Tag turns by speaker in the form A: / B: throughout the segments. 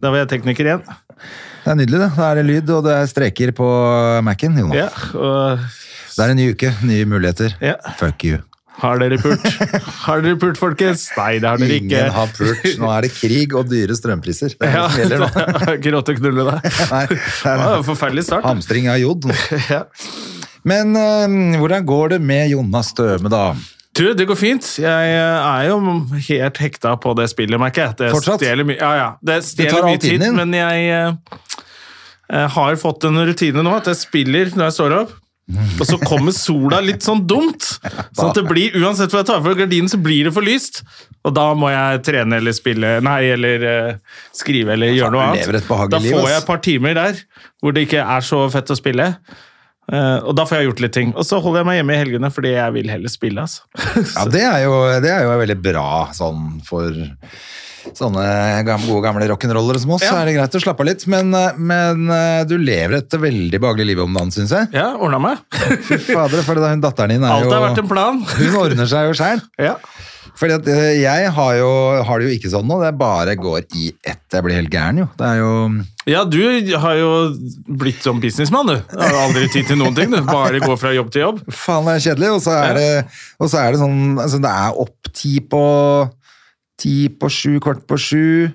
A: Da var jeg tekniker igjen.
B: Det er nydelig, det. Da er det lyd, og det er streker på Mac-en. Jonas.
A: Ja, og
B: Det er en ny uke, nye muligheter.
A: Ja.
B: Fuck you.
A: har dere pult? Har dere pult, folkens? Nei, det har dere ikke.
B: Ingen har pult. Nå er det krig og dyre strømpriser. Det er
A: Ja,
B: det som
A: det
B: gjelder nå.
A: er ikke råd til å knulle deg.
B: Nei, det
A: Det
B: er
A: var
B: det.
A: en forferdelig start.
B: Hamstring av jod. nå.
A: Ja.
B: Men eh, hvordan går det med Jonas Støme, da?
A: Du, det går fint. Jeg eh, er jo helt hekta på det spillet, merker jeg. Det
B: Fortsatt?
A: stjeler mye, ja, ja. Det
B: tar
A: stjeler
B: all
A: mye tid,
B: tiden din.
A: men jeg, eh, jeg har fått en rutine nå, at jeg spiller når jeg står opp. Og så kommer sola litt sånn dumt. Sånn at det blir, Uansett hva jeg tar for gardinen, så blir det for lyst. Og da må jeg trene eller spille Nei, eller eh, skrive eller gjøre noe
B: Faen, du lever et
A: annet.
B: behagelig
A: Da
B: liv,
A: får
B: ass.
A: jeg et par timer der hvor det ikke er så fett å spille. Eh, og da får jeg gjort litt ting. Og så holder jeg meg hjemme i helgene fordi jeg vil heller spille. altså.
B: Ja, det er jo, det er jo veldig bra sånn for sånne gam, gode gamle rock'n'rollere som oss.
A: Ja.
B: Så er det greit å slappe av litt, men, eh, men eh, du lever et veldig behagelig liv om dagen, syns jeg.
A: Ja, ordna meg.
B: Fy fader, for da- hun datteren din er
A: Alt
B: jo
A: har vært en plan.
B: Hun ordner seg jo sjæl.
A: Ja.
B: Fordi at eh, jeg har, jo, har det jo ikke sånn nå. Det bare går i ett. Jeg blir helt gæren, jo. Det er jo
A: ja, du har jo blitt som businessmann, du. Har aldri tid til noen ting, du. Bare går fra jobb til jobb.
B: Faen, det er kjedelig. Og så er, det, og så er det sånn altså, Det er opp ti på ti på sju, kvart på sju.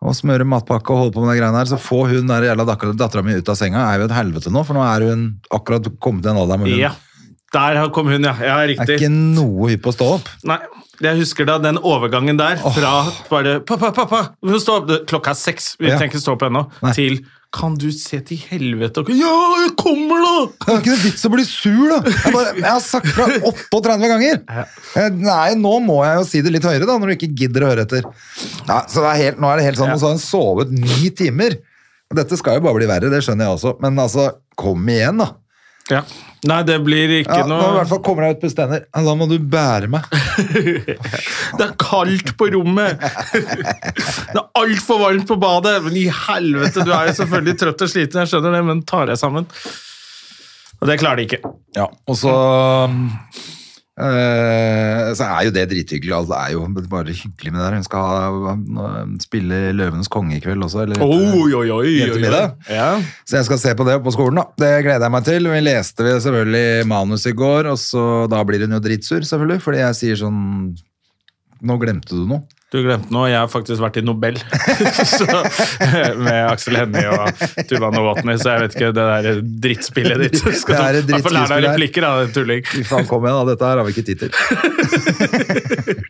B: Og smøre matpakke og holde på med de greiene her. Så få hun der jævla dattera mi ut av senga er jo et helvete nå, for nå er hun akkurat kommet til en alder hvor hun
A: Ja. Der har- kom hun, ja. Ja,
B: er
A: riktig.
B: ikke noe hypp på å stå opp.
A: Nei, jeg husker da den overgangen der fra bare Pappa, pappa! vi må Stå opp! Det- Klokka er seks, vi
B: Ja.
A: trenger ikke stå opp ennå.
B: Nei.
A: Til Kan du se til helvete og Ja, jeg kommer, da!
B: Det er ikke noe vits å bli sur, da! Jeg, bare, jeg har sagt fra 38 ganger! Eh, Nei, nå må jeg jo si det litt høyere, da, når du ikke gidder å høre etter. Ja, så det er helt, nå er det helt sånn,
A: Ja.
B: og så har hun sovet ni timer. Og Dette skal jo bare bli verre, det skjønner jeg også, men altså, kom igjen, da.
A: Ja. Nei, det blir ikke
B: Ja, nå i
A: noe
B: hvert fall kommer jeg ut bestendig. Ja, Da må du bære meg.
A: Det er kaldt på rommet! Det er altfor varmt på badet! Men i helvete, du er jo selvfølgelig trøtt og sliten, jeg skjønner det, men tar deg sammen. Og det klarer de ikke.
B: Ja, og så eh, så er jo det drithyggelig. Alt er jo bare hyggelig med det her. Hun skal ha, spille Løvenes konge i kveld også. Eller,
A: Oi, oi, oi!
B: Hjem til middag?
A: Ja.
B: Så jeg skal se på det på skolen, da. Det gleder jeg meg til. Vi leste vi selvfølgelig manus i går, og så da blir hun jo dritsur, selvfølgelig, fordi jeg sier sånn Nå glemte du noe.
A: Du glemte noe, jeg har faktisk vært i Nobel så, med Aksel Hennie og Tuva Novotny, så jeg vet ikke det der drittspillet ditt. Skal du
B: Det er et
A: i hvert fall lære deg
B: drittskuespill her.
A: replikker, da, din tulling.
B: Fy faen, kom igjen, da. Dette her har vi ikke tid til.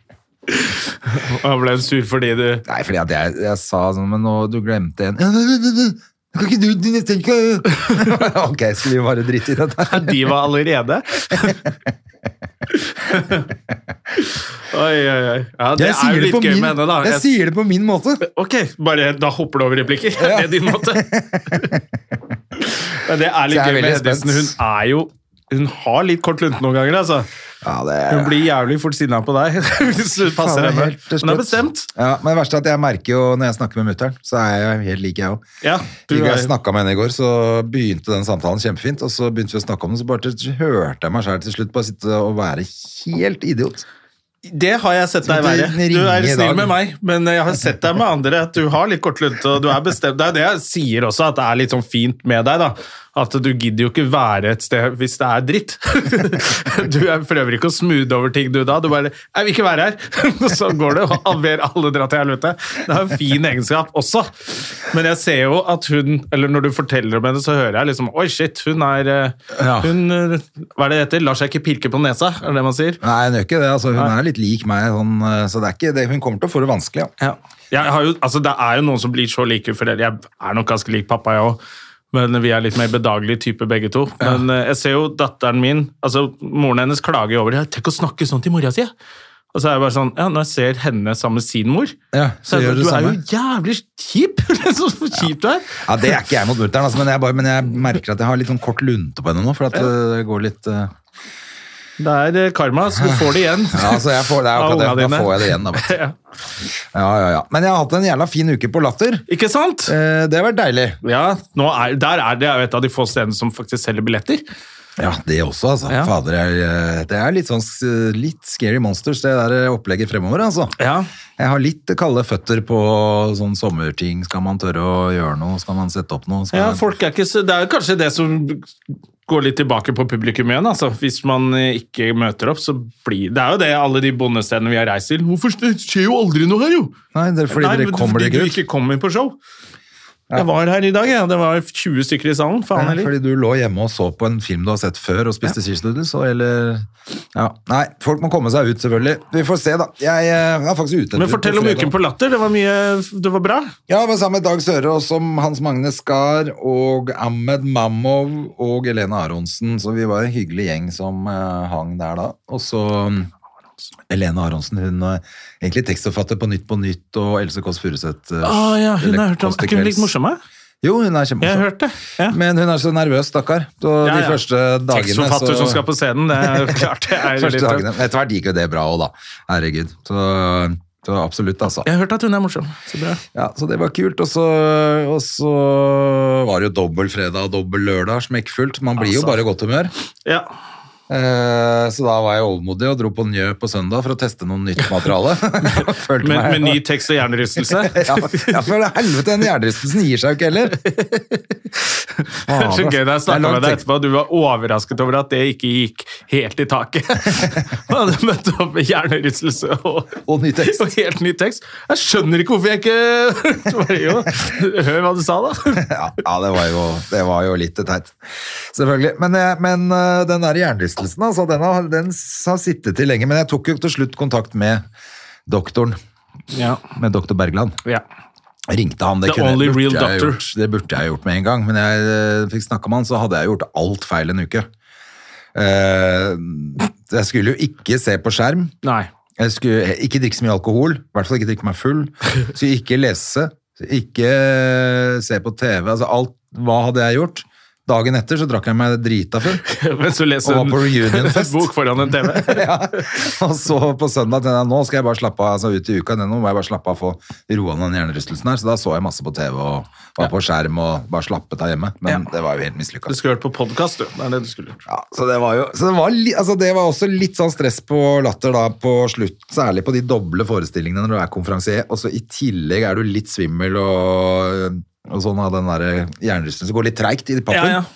A: Og han ble sur fordi du
B: Nei, fordi at jeg, jeg sa sånn Men nå, du glemte en Kan ikke du du nesten ikke Ok, skulle vi bare drite i dette her?
A: De var allerede. Oi, oi, oi. Ja, det
B: Jeg sier
A: er jo
B: det på
A: litt gøy
B: min-
A: med henne, da.
B: Jeg sier det på min måte.
A: Ok, bare da hopper du over replikker. Det er din måte. Men det er
B: Så
A: litt
B: jeg er
A: gøy med
B: veldig
A: Hedisen. Hun
B: spent.
A: er jo Hun har litt kort lunte noen ganger, altså.
B: Ja, det
A: Hun blir jævlig fort sinna på deg hvis du
B: Faen,
A: passer
B: det er
A: henne.
B: helt sprøtt.
A: Hun er bestemt.
B: Ja, men det verste er at jeg merker jo når jeg snakker med mutter'n, så er jeg helt lik, jeg òg.
A: Ja, du
B: Ikke
A: er-
B: jeg snakka med henne i går, så begynte den samtalen kjempefint. Og så begynte vi å snakke om den, så bare til, hørte jeg meg sjøl til slutt bare sitte og være helt idiot.
A: Det har jeg sett deg
B: Skal
A: være.
B: ikke ringe
A: Du er
B: i
A: snill
B: dag.
A: med meg, men jeg har sett deg med andre at du har litt kort lunte. og du er bestemt. Det er det jeg sier også, at det er litt sånn fint med deg. da. At du gidder jo ikke være et sted hvis det er dritt. Du er- prøver ikke å smoothe over ting du da. Du bare 'Jeg vil ikke være her!' Og så går det, og ber alle dra til helvete. Det er en fin egenskap også. Men jeg ser jo at hun Eller når du forteller om henne, så hører jeg liksom 'Oi, shit, hun er eh,
B: Ja.
A: Hun eh, Hva er det det heter? Lar seg ikke pirke på nesa, er det det man sier?
B: Nei, hun gjør ikke det. altså Hun er litt lik meg, sånn, eh, så det er ikke det. hun kommer til å få det vanskelig. Ja.
A: Jeg har jo, altså, det er jo noen som blir så like foreldre. Jeg er nok ganske lik pappa, jeg òg. Men vi er litt mer bedagelige typer, begge to. Men eh, jeg ser jo datteren min altså Moren hennes klager jo over det. 'Tenk å snakke sånn til mora si'. Og så er jeg bare sånn, ja, når jeg ser henne sammen med sin mor,
B: Ja, så
A: er jeg
B: gjør du det
A: bare, du er
B: samme.
A: jo jævlig kjip! liksom, så kjip du er.
B: Ja, Det er ikke jeg mot mutter'n, altså, men, jeg bare- men jeg merker at jeg har litt sånn kort lunte på henne nå. For at øh, det går litt øh,
A: Det er eh, karma, så du får det igjen.
B: Ja, altså, jeg får, det er
A: Av
B: akkurat det.
A: ungene
B: Da
A: dine.
B: får jeg det igjen. Da, vet du.
A: Ja.
B: ja, ja, ja. Men jeg har hatt en jævla fin uke på Latter.
A: Ikke sant?
B: Eh, det har vært deilig.
A: Ja, nå er, der er det jo et av de få stedene som faktisk selger billetter.
B: Ja, det også, altså.
A: Ja.
B: Fader, jeg, eh, det er litt sånn s- litt scary monsters, det der eh, opplegget fremover, altså.
A: Ja.
B: Jeg har litt kalde føtter på sånn sommerting. Skal man tørre å gjøre noe? Skal man sette opp noe? Skal
A: Ja,
B: man-
A: folk er ikke så, Det er jo kanskje det som går litt tilbake på publikum igjen. altså. Hvis man eh, ikke møter opp, så blir Det er jo det alle de bondestedene vi har reist til. Hvorfor det skjer jo aldri noe her, jo?
B: Nei, det er fordi
A: Nei,
B: dere
A: men
B: kommer
A: fordi
B: dere
A: du
B: ikke ut.
A: ikke kommer på show. Jeg var her i dag, jeg. Det var 20 stykker i salen. Faen
B: Ja,
A: heller.
B: fordi du lå hjemme og så på en film du har sett før og spiste cheese noodles, og eller ja. Nei, folk må komme seg ut, selvfølgelig. Vi får se, da. Jeg eh, er faktisk ute etter
A: Men fortell om uken på Latter. Det var mye Det var bra.
B: Ja, men sammen med Dag Sørås som Hans Magne Skar og Ahmed Mamov og Elena Aronsen. Så vi var en hyggelig gjeng som eh, hang der da. Og så mm, Elena Aronsen, hun er egentlig tekstforfatter på Nytt på Nytt og Else Kåss Furuseth. eh,
A: Ah, ja, hun
B: eller
A: har hørt om.
B: Kåss
A: Er
B: til
A: ikke hun
B: kvelds.
A: litt morsom? jeg?
B: Jo, hun er
A: Jeg har
B: kjempemorsom.
A: hørt det. Ja.
B: Men hun er så nervøs, stakkar. Så
A: Ja,
B: de
A: ja.
B: første dagene
A: Tekstforfatter
B: så-
A: som skal på scenen, det er jo klart. Det er
B: Første
A: litt,
B: dagene. Etter hvert gikk jo det bra òg, da. Herregud. Så, så absolutt, altså.
A: Jeg har hørt at hun er morsom. Så bra.
B: Ja, så det var kult, og så, og så var det jo dobbel fredag og dobbel lørdag, smekkfullt. Man blir jo bare i godt humør.
A: Ja.
B: Eh, så da var jeg overmodig og dro på Njø på søndag for å teste noe nytt materiale. Følte
A: Med,
B: meg-
A: med ny tekst og hjernerystelse.
B: ja, ja, for helvete, den hjernerystelsen gir seg jo ikke heller.
A: Det er så gøy da jeg
B: Det er
A: snakka
B: lang
A: med deg
B: tekst.
A: etterpå, du var overrasket over at det ikke gikk helt i taket. Du hadde møtt opp med hjernerystelse og,
B: Og ny tekst.
A: og helt ny tekst. Jeg skjønner ikke hvorfor jeg ikke Så bare, jo, Hør hva du sa, da.
B: ja, ja det, var jo, det var jo litt teit. Selvfølgelig. Men, eh, men eh, den der hjernerystelsen, altså, den har, den s- har sittet til lenge. Men jeg tok jo til slutt kontakt med doktoren,
A: Ja.
B: med doktor Bergland.
A: ja.
B: ringte han. Det,
A: The
B: kunne,
A: only
B: burde
A: real
B: jeg
A: doctor.
B: Gjort, det burde jeg gjort med en gang, men jeg eh, fikk snakka med han, så hadde jeg gjort alt feil en uke. Eh, jeg skulle jo ikke se på skjerm.
A: Nei.
B: Jeg skulle ikke drikke så mye alkohol, i hvert fall ikke drikke meg full. Så ikke lese, så ikke se på TV. Altså alt, hva hadde jeg gjort? Dagen etter så drakk jeg meg drita full.
A: Mens du leser
B: Og var på
A: en
B: reunionfest.
A: bok foran en TV.
B: ja. Og så på søndag tenkte jeg nå skal jeg bare slappe av altså ut i uka. Nå må jeg bare slappe av og få roa ned den hjernerystelsen her. Så da så jeg masse på TV og var på skjerm og bare slappet av hjemme. Men det var jo helt mislykka.
A: Du skulle hørt på podkast, du. Det er det du skulle gjort.
B: Ja, så det var jo så det var, li, altså det var også litt sånn stress på latter da på slutt, særlig på de doble forestillingene når du er konferansier, og så i tillegg er du litt svimmel og, og sånn av den der hjernerystelsen. Så går det litt treigt i pappen.
A: Ja, ja.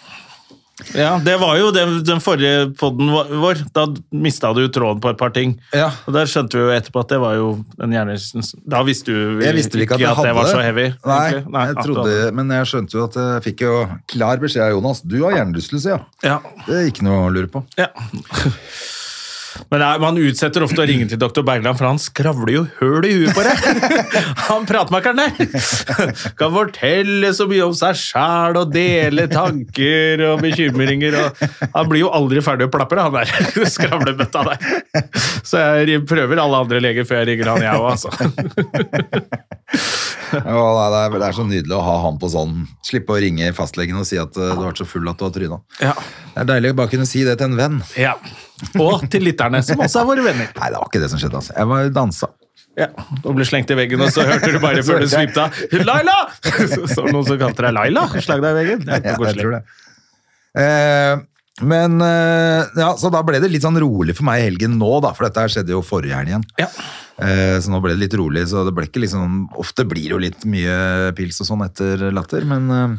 A: Ja, det var jo den, den forrige podden vår. Da mista du jo tråden på et par ting.
B: Ja.
A: Og der skjønte vi jo etterpå at det var jo en hjernerystelse. Da visste du
B: Jeg visste vel ikke at jeg hadde
A: det var så heavy.
B: Nei,
A: egentlig. Nei,
B: jeg
A: at du
B: trodde,
A: hadde-
B: men jeg skjønte jo at jeg fikk jo klar beskjed av Jonas. Du har hjernerystelse, ja.
A: Ja.
B: Det er ikke noe å lure på.
A: ja. Men nei, Man utsetter ofte å ringe til doktor Bergland, for han skravler jo høl i huet på deg! Han pratmakeren der! Kan fortelle så mye om seg sjæl og dele tanker og bekymringer og Han blir jo aldri ferdig å plapre, han der skravlebøtta der. Så jeg prøver alle andre leger før jeg ringer han, jeg òg, altså.
B: Ja, nei, det, er, det er så nydelig å ha han på sånn. Slippe å ringe fastlegen og si at eh, du har vært så full at du har tryna.
A: Ja.
B: Det er deilig å bare kunne si det til en venn.
A: ja. Og til lytterne, som også er våre venner.
B: Nei, det var ikke det som skjedde, altså. Jeg var dansa.
A: Ja, Og ble slengt i veggen, og så hørte du bare før du svipte av 'Laila!' Så så var det noen som kalte deg Laila. Slag deg i veggen. Det er
B: Ja,
A: ikke
B: jeg tror
A: koselig.
B: det. Eh, men eh, ja, så da ble det litt sånn rolig for meg i helgen nå, da, for dette her skjedde jo forrige helg igjen.
A: Ja.
B: Eh, så nå ble det litt rolig, så det ble ikke liksom Ofte blir det jo litt mye pils og sånn etter latter, men eh,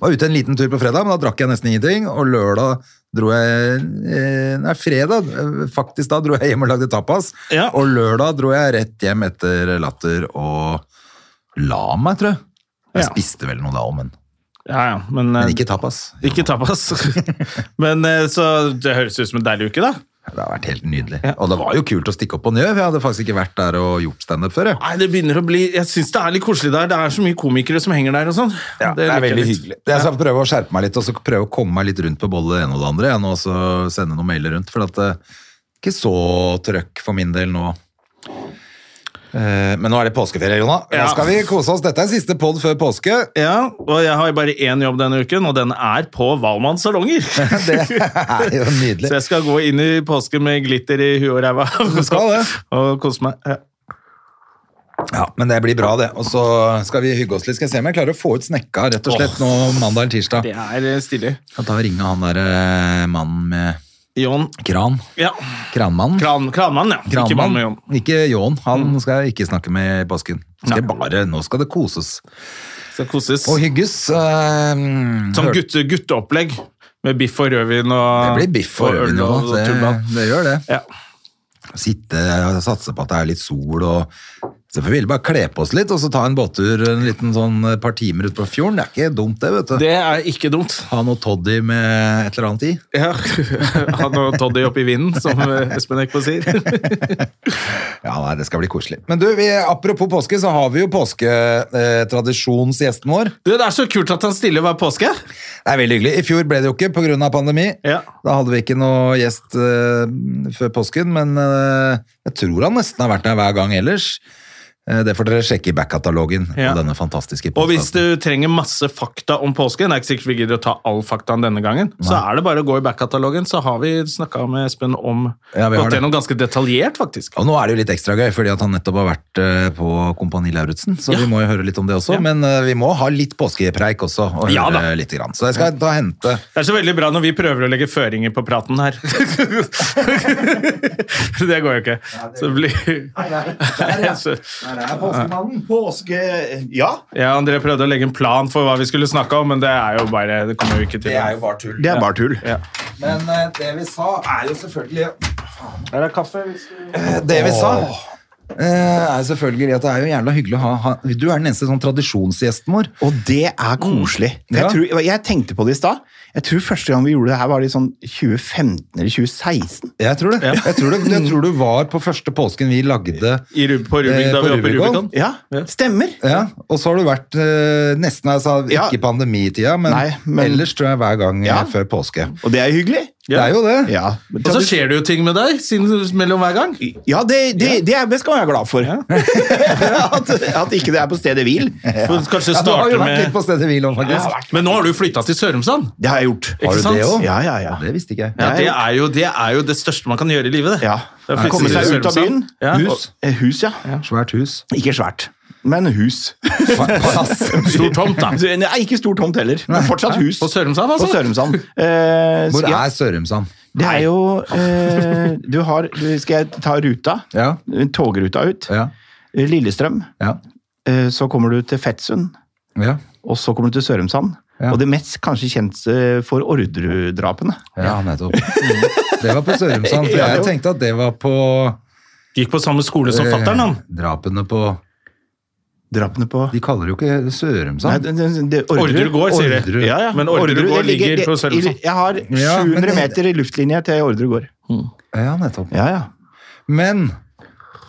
B: Var ute en liten tur på fredag, men da drakk jeg nesten ingenting, og lørdag dro jeg eh, Nei, fredag, eh, faktisk da, dro jeg hjem og lagde tapas,
A: Ja.
B: og lørdag dro jeg rett hjem etter latter og la meg, tror jeg. Jeg
A: Ja.
B: spiste vel noe da òg, men
A: Ja, ja, men, eh,
B: Men ikke tapas.
A: ikke tapas. Men eh, så det høres ut som en deilig uke, da.
B: Det har vært helt nydelig. Og det var jo kult å stikke opp på Njø, for jeg hadde faktisk ikke vært der og gjort standup før. Jeg.
A: Nei, det begynner å bli Jeg syns det er litt koselig der. Det er så mye komikere som henger der og sånn. liker jeg litt.
B: Jeg skal prøve å skjerpe meg litt, og så prøve å komme meg litt rundt på både det ene og det andre, jeg nå, og så sende noen mailer rundt, for at eh, ikke så trøkk for min del nå. Eh, Men nå er det påskeferie, Jona. Nå
A: Ja.
B: skal vi kose oss. Dette er siste pod før påske.
A: Ja, og jeg har bare én jobb denne uken, og den er på Valmanns salonger.
B: Det er jo
A: Så
B: nydelig.
A: jeg skal gå inn i påsken med glitter i huet og ræva
B: skal det.
A: og kose meg. Ja.
B: Ja, Men det blir bra, det. Og så skal vi hygge oss litt. Skal jeg se om jeg klarer å få ut snekka rett og slett nå mandag eller tirsdag.
A: Det er eh, stilig.
B: Skal ta og ringe han der eh, mannen med
A: Jon.
B: kran.
A: Ja.
B: Kranmannen.
A: Kran, kranmann, ja. Ikke mann med Jon.
B: Kranmannen. Ikke Jån. Han skal jeg ikke snakke med i påsken. Skal jeg bare, nå skal det koses
A: Skal koses.
B: og hygges. eh,
A: Som
B: hør-
A: gutte, gutteopplegg med biff og rødvin og
B: Det blir biff og rødvin
A: øl
B: nå.
A: og
B: Det,
A: tullball.
B: det gjør det.
A: Ja.
B: Sitte og satse på at det er litt sol og så får vi bare kle på oss litt og så ta en båttur en liten sånn et par timer ut på fjorden. Det er ikke dumt, det, vet du.
A: Det er ikke dumt.
B: Ha noe toddy med et eller annet i.
A: Ja. Han og Toddy opp i vinden, som eh, Espen Eckbo sier.
B: Ja, nei, det skal bli koselig. Men du, vi, apropos påske, så har vi jo påsketradisjonsgjesten vår.
A: Du, det er så kult at han stiller hver påske.
B: Det er veldig hyggelig. I fjor ble det jo ikke pga. pandemi.
A: Ja.
B: Da hadde vi ikke noe gjest eh, før påsken, men eh, jeg tror han nesten har vært der hver gang ellers. Eh, det får dere sjekke i back-katalogen.
A: Ja.
B: på denne fantastiske
A: Og hvis
B: podcasten.
A: du trenger masse fakta om påsken, det er ikke sikkert vi gidder å ta all faktaen denne gangen, så er det bare å gå i back-katalogen, så har vi snakka med Espen om
B: Ja, vi har
A: gått
B: det.
A: gjennom ganske detaljert, faktisk.
B: Og nå er det jo litt ekstra gøy, fordi at han nettopp har vært eh, på Kompani Lauritzen, så vi må jo høre litt om det også.
A: Ja.
B: Men eh, vi må ha litt påskepreik også, og
A: Ja da.
B: høre litt. Grann. Så jeg skal ta og hente
A: Det er så veldig bra når vi prøver å legge føringer på praten her. det går jo ikke. Så det blir... Så-
C: Påske Ja,
A: Ja, André prøvde å legge en plan for hva vi skulle snakke om, men det er jo bare Det kommer jo ikke til.
B: bare tull.
C: det er bare tull.
A: Ja.
B: Men eh, det vi sa er jo selvfølgelig Eh, Det vi sa eh, er selvfølgelig at det er jo jævla hyggelig å ha, ha Du er den eneste sånn tradisjonsgjesten vår.
C: Og det
A: Mm.
C: er koselig.
B: Ja.
C: Jeg, tror, jeg tenkte på det i stad. Jeg tror første gang vi gjorde det her, var i sånn 2015 eller 2016.
B: Jeg tror det. Jeg, tror det jeg tror du var på første påsken vi lagde.
A: I Rub på Rubik,
B: Eh,
A: da
B: på
A: vi var på
B: Rubicon.
A: Rubicon.
C: Ja, stemmer.
B: Ja, og så har du vært eh, nesten altså,
C: Ja.
B: ikke pandemitida, men,
C: Nei, men-
B: ellers tror jeg hver gang eh,
C: Ja.
B: før påske.
C: Og det er jo hyggelig.
B: Det er jo det.
C: Ja,
A: Og så skjer det jo ting med deg siden, mellom hver gang.
C: ja det, det, det, er, det skal man være glad for. at, at ikke det er på stedet hvil.
A: For kanskje
B: Ja, du har
A: starte
B: jo vært
A: med
B: litt på stedet hvil òg, faktisk.
A: Men nå har du flytta til Sørumsand.
C: Det har jeg gjort.
A: Ikke
B: Har du
A: sant?
B: det òg?
C: Ja, ja, ja.
B: Det visste ikke jeg.
A: Ja, det er, jo, det er jo det største man kan gjøre i livet. det.
C: Ja.
A: Det er å flytte
C: Komme
A: til
C: seg ut av byen.
A: Sørumsand. Ja.
C: Hus. Eh, Hus, ja.
B: Svært hus.
C: Ikke svært, men hus.
B: Palass.
A: Stor tomt, da.
C: Nei, ikke stor tomt heller, men fortsatt hus.
A: På Sørumsand,
C: På
A: altså.
C: Sørumsand. Eh,
B: Hvor
C: så- ja,
B: er Sørumsand?
C: det er jo eh, Du har Skal jeg ta ruta?
B: Ja.
C: Togruta ut.
B: Ja.
C: Lillestrøm.
B: Ja.
C: Eh, så kommer du til Fettsund.
B: Ja.
C: Og så kommer du til Sørumsand.
B: Ja.
C: Og det mest kanskje kjent eh, for Orderud-drapene.
B: Ja, nettopp. Mm. Det var på Sørumsand, for
C: Ja,
B: jeg
C: jo.
B: tenkte at det var på
A: Gikk på samme skole som fatter'n, han.
B: eh, drapene på
C: Drapene på
B: De kaller det jo ikke
C: Nei,
B: Sørumsand.
C: det, det, det,
A: Orderud gård, sier de.
B: Orderud.
C: Ja, ja.
A: Men Orderud gård
C: det
A: ligger på
C: det-
A: Sørumsand.
C: Jeg har
B: Ja, men
C: 700
B: det-
C: meter i luftlinje til Orderud gård.
B: Ja, nettopp.
C: Ja, ja.
B: Men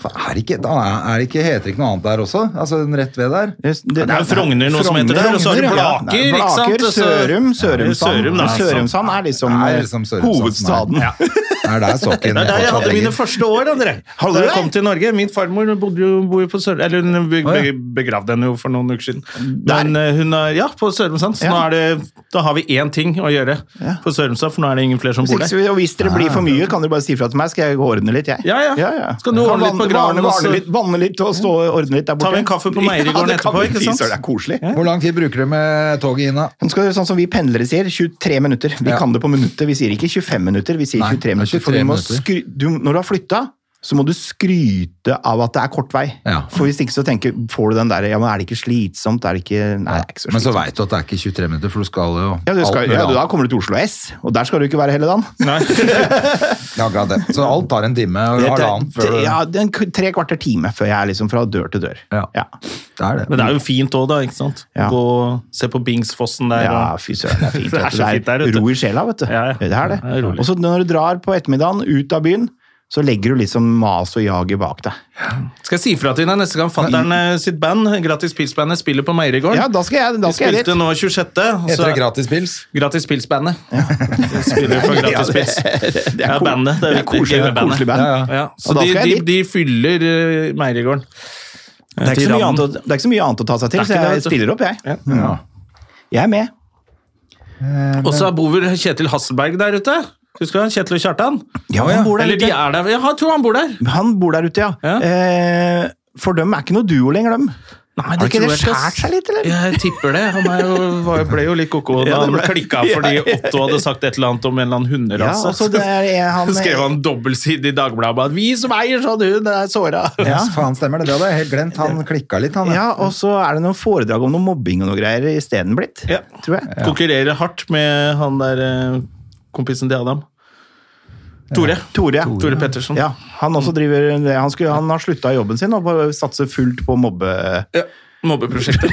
B: fa- er det ikke, da er det ikke, heter det ikke noe annet der også? Altså rett ved der?
C: Det, det-
A: Det er jo Frogner noe som heter der, og så har du
B: Frogner, ja.
A: Blaker.
C: Nei,
A: ikke sant?
C: Blaker,
A: Og så-
C: Sørum,
A: Sørum,
C: Sørumsand.
A: da.
C: Men Sørumsand er liksom,
B: Det
C: eh,
B: er liksom Sørumsand som er-
C: hovedstaden.
A: Ja.
B: Det er der sokken
A: Det er der jeg
B: fortsatt
A: hadde mine
B: ligger.
A: første år, André. Da
C: Hadde du
A: jeg
C: det?
A: kom til Norge. Min farmor bodde jo, bor jo på Sør... Eller hun be-
B: Å, ja.
A: be- begravde henne jo for noen uker siden. Men eh, hun er Ja, på Sørumsand. Så nå
C: Ja.
A: er det, da har vi én ting å gjøre
C: Ja.
A: på Sørumsand, for nå er det ingen flere som
C: Hvis
A: bor
C: ikke-
A: der.
C: og hvis dere blir for mye, kan dere bare si fra til meg, skal jeg gå og ordne litt, jeg.
A: Ja, ja. Skal du
C: Kan
A: ordne litt på
C: vanne-
A: graven,
C: vanne-
A: og så-
C: vanne litt- Vanne litt og stå og ordne litt der
A: Tar
C: borte.
A: vi en kaffe på Meierigården
C: det kan
A: etterpå,
C: vi
A: ikke
C: fy
A: sant?
C: søren, Det er koselig.
B: Hvor lang tid bruker du med toget, Ina?
C: Nå skal, vi- sånn som vi pendlere sier, 23 minutter. Vi
B: Ja.
C: kan det på minuttet. Vi sier ikke 25 minutter, vi sier
B: Nei,
C: 23 minutter. For
B: 23
C: du må
B: minutter.
C: skry du, når du har flytta, så må du skryte av at det er kort vei.
B: Ja.
C: For hvis ikke så tenker, får du den der, ja, men er det ikke slitsomt? Er det ikke, nei, det er ikke så
B: Men så
C: slitsomt.
B: veit du at det er ikke 23 minutter, for du skal jo
C: Ja, du skal,
B: alt mulig
C: ja, du, da
B: annet.
C: kommer du til Oslo S, og der skal du ikke være hele dagen.
A: Nei.
B: Ja, akkurat det. Så alt tar en time og halvannen før du
C: Ja, det er en k- tre kvarter time før jeg er liksom fra dør til dør.
B: Ja.
C: ja.
B: Det er det.
A: Men det er jo fint òg, da. ikke sant?
C: Ja.
A: Gå og se på Bingsfossen der.
C: Ja,
A: og-
C: fy søren, det er fint.
A: Det er
C: vet du.
A: så fint der ute.
C: Ro i sjela, vet du.
A: Ja, ja.
C: Det er det.
A: Ja, det er rolig.
C: og så når du drar på ettermiddagen ut av byen, så legger du liksom mas og jaget bak deg.
A: Skal jeg si fra til deg neste gang fattern eh, sitt band, Gratis Pils-bandet, spiller på Meierigården?
C: Mm. Ja, da skal jeg, da
A: De
C: skal jeg
A: spilte
C: dit.
A: nå 26. og
B: Heter
A: så-
B: det gratis pils?
A: Gratis Pils-bandet. De Spiller for Gratis Pils. Det er
C: ko-
A: bandet. Det er,
C: Det er koselig,
A: viktig,
C: koselig band.
B: Ja,
A: Ja, så
C: Og da
A: de,
C: skal jeg
A: de,
C: dit.
A: de fyller eh, Meierigården.
C: Det er, ikke så mye
A: Tyrannen.
C: annet, å- det er ikke så mye annet å ta seg til,
A: Det er
C: så
A: ikke det,
C: jeg
A: vet du.
C: stiller opp, jeg. Ja. Jeg er med.
A: Og så bor vel Kjetil Hasselberg der ute? Husker du han? Kjetil og Kjartan?
C: Ja, han bor der
A: Eller de
C: ute.
A: er der. Ja, jeg tror han bor der.
C: Han bor der ute, ja.
A: Ja.
C: Eh, for dem er ikke noe duo lenger, dem.
A: Nei,
C: Har
A: tror
C: ikke det
A: jeg ass.
C: skjært seg litt, eller?
A: Jeg tipper det. Han er jo, var, ble jo litt koko da
C: Ja, det
A: han
C: ble-
A: klikka fordi Otto hadde sagt et eller annet om en eller annen
C: Ja,
A: hunderase.
C: altså, det er han...
A: skrev han dobbeltside i Dagbladet om at 'vi som eier sånn hund, er såra'.
C: Ja.
B: Faen, stemmer det. Det hadde jeg helt glemt. Han klikka litt, han.
C: Ja, og så er det noen foredrag om noe mobbing og noe greier isteden blitt,
A: Ja.
C: tror jeg.
A: Konkurrerer hardt med han der eh, kompisen til Adam. Tore.
C: Tore, ja.
A: Tore Pettersen.
C: Ja, han også driver det. Han, skulle, han har slutta jobben sin og bare satser fullt på mobbe...
A: Ja. Mobbeprosjektet.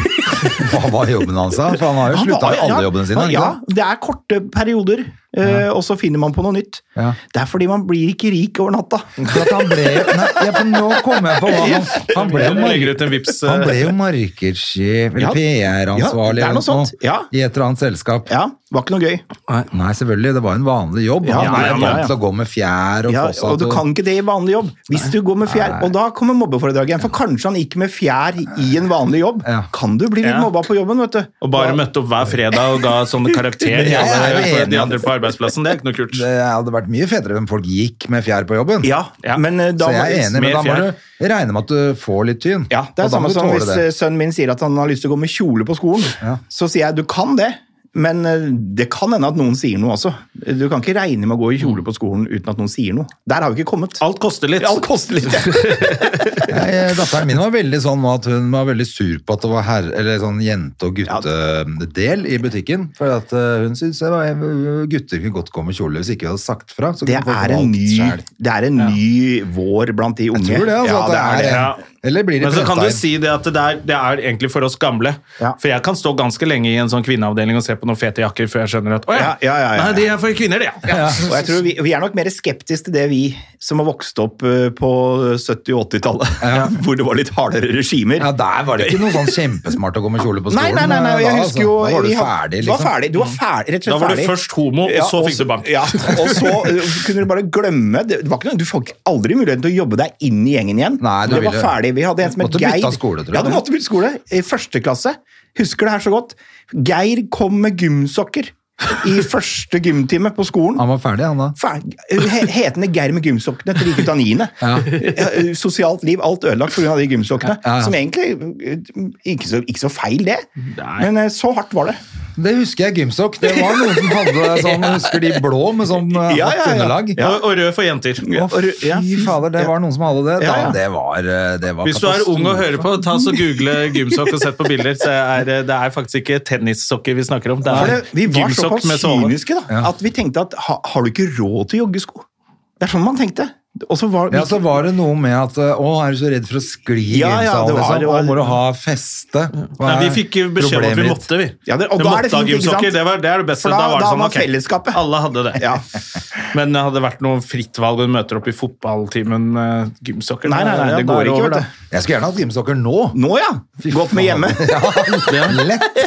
B: Hva var jobben hans, da? For han har jo
C: Han
B: slutta
C: var-
B: i alle
C: ja,
B: jobbene sine.
C: han-
B: ikke
C: Ja,
B: sant?
C: det er korte perioder, eh, og så finner man på noe nytt.
B: Ja.
C: Det er fordi man blir ikke rik over natta.
B: For at han ble Nei, ja, for nå kom jeg på hva han Han ble jo
A: Han legger ut
B: mark-
A: en vips.
B: han ble jo markedssjef eller
C: eh, Ja,
B: PR-ansvarlig
C: ja, det er noe
B: eller
C: sånt. Ja.
B: i et eller annet selskap.
C: Ja, var ikke noe gøy.
B: Nei, selvfølgelig. Det var jo en vanlig jobb.
C: Ja,
B: Han var jo
C: ja, ja,
B: vant
C: ja.
B: til å gå med fjær og
C: Ja,
B: fossat
C: og du
B: og-
C: kan ikke det i vanlig jobb. Hvis du går med fjær, og da kommer mobbeforedraget igjen, for kanskje han gikk med fjær i en vanlig jobb.
B: Ja.
C: Kan du bli litt
A: Ja.
C: mobba på jobben, vet du.
A: Og bare møtte opp hver fredag og ga sånn karakter til
B: jeg er
A: alle-
B: jo
A: for
B: enig
A: de
B: at-
A: andre på arbeidsplassen. Det er ikke noe kult.
B: Det hadde vært mye fetere om folk gikk med fjær på jobben.
C: Ja,
A: Ja.
C: men eh, da
B: så jeg er enig, men
A: Mer
B: da må
A: fjær.
B: du regne med at du får litt tyn.
C: Ja, det er
B: og da må du
C: samme som
B: tåle
C: hvis
B: det.
C: eh, sønnen min sier at han har lyst til å gå med kjole på skolen.
B: Ja.
C: Så sier jeg du kan det, men eh, det kan hende at noen sier noe også. Du kan ikke regne med å gå i
B: Mm.
C: kjole på skolen uten at noen sier noe. Der har vi ikke kommet.
A: Alt koster litt.
C: Alt koster litt.
B: Nei, eh, datteren min var veldig sånn nå at hun var veldig sur på at det var herre, eller sånn jente- og guttedel i butikken. For at eh, hun syntes det var gutter kunne godt gå med kjole hvis ikke vi hadde sagt fra. Så
C: Det
B: kunne folk
C: er en
B: valgt
C: ny,
B: selv.
C: det er en ny vår blant de unge.
B: Tror det, altså,
C: Ja,
B: at det er,
C: det.
A: Ja.
B: en- Eller blir det
A: Men så kan du
B: prenta inn?
A: si det at det er, det er egentlig for oss gamle.
C: Ja.
A: For jeg kan stå ganske lenge i en sånn kvinneavdeling og se på noen fete jakker før jeg skjønner at å ja,
C: Ja, ja, ja, ja, ja.
A: Nei, de er for kvinner, det. Ja. Ja.
C: Og jeg tror vi, vi er nok mer skeptiske til det vi som har vokst opp eh, på 70- og 80-tallet, hvor det var litt hardere regimer.
B: Ja, der var det ikke noe sånn kjempesmart å gå med kjole på skolen.
C: Nei, nei, nei, nei, jeg
B: da,
C: husker jo...
B: altså. Da var du
C: vi hadde-
B: ferdig,
C: Du var
B: liksom.
C: ferdig, du var ferdig, rett og slett
A: Da var du
C: ferdig.
A: først homo, og så fikk du bank.
C: Ja, og så eh, kunne du bare glemme det det var ikke noe, Du fikk aldri muligheten til å jobbe deg inn i gjengen igjen.
B: Nei, du
C: det var
B: ville-
C: ferdig. Vi hadde en som het
B: Måtte bytte
C: Geir.
B: av skole, tror jeg.
C: ja, du måtte bytte skole. I første klasse. Husker det her så godt. Geir kom med gymsokker i første gymtime på skolen.
B: Han var ferdig, han da.
C: Fer- he- Hetende Geir med gymsokkene til like ut av niende. Ja, Sosialt liv, alt ødelagt pga. de gymsokkene.
B: Ja, ja.
C: Som egentlig eh, ikke så, ikke så feil, det. Men eh, så hardt var det.
B: Det husker jeg gymsokk. Det var noen som hadde sånn, husker de blå med sånn eh, hardt
C: Ja, ja, ja.
B: underlag.
A: Og, og rød for jenter.
B: Å,
C: Og rød- ja,
B: fy
C: fy-
B: fader, det var noen som hadde det. Da,
C: Ja, ja.
B: det var, eh, det var
A: Hvis du er
B: katastrofe.
A: ung og hører på, ta så google gymsokk og sett på bilder. Så er, det er faktisk ikke tennissokker vi snakker om. Det
C: For
A: er
C: det, vi var
A: gymsokk
C: såpass
A: med såle.
C: kyniske da, at vi tenkte at ha, har du ikke råd til joggesko? Det er sånn man tenkte. Og så var
B: Ja, så var det noe med at eh, Å, er du så redd for å skli i
C: Ja, ja,
B: gymsalen,
C: det var-
B: liksom?
C: det var-
B: Å, må du ha feste? Hva
A: Nei, vi
B: er
A: fikk jo beskjed om at vi
B: problemet ditt?
A: måtte, vi.
C: Ja, det- og
A: vi
C: da er
A: måtte ha
C: det fint, ikke
A: gymsokker.
C: sant?
A: Det var det, er det beste.
C: For da-
A: da var det
C: da
A: sånn,
C: var
A: ok,
C: fellesskapet.
A: Alle hadde det.
C: Ja.
A: Men det hadde vært noe fritt valg, og du møter opp i fotballtimen eh, gymsokker.
C: Nei, nei, nei,
A: Ja,
C: det
A: da er
C: går ikke,
A: over,
C: vet
A: da.
C: du.
B: Jeg skulle gjerne hatt gymsokker nå.
C: Nå ja! Godt med hjemme.
B: Ja, lett.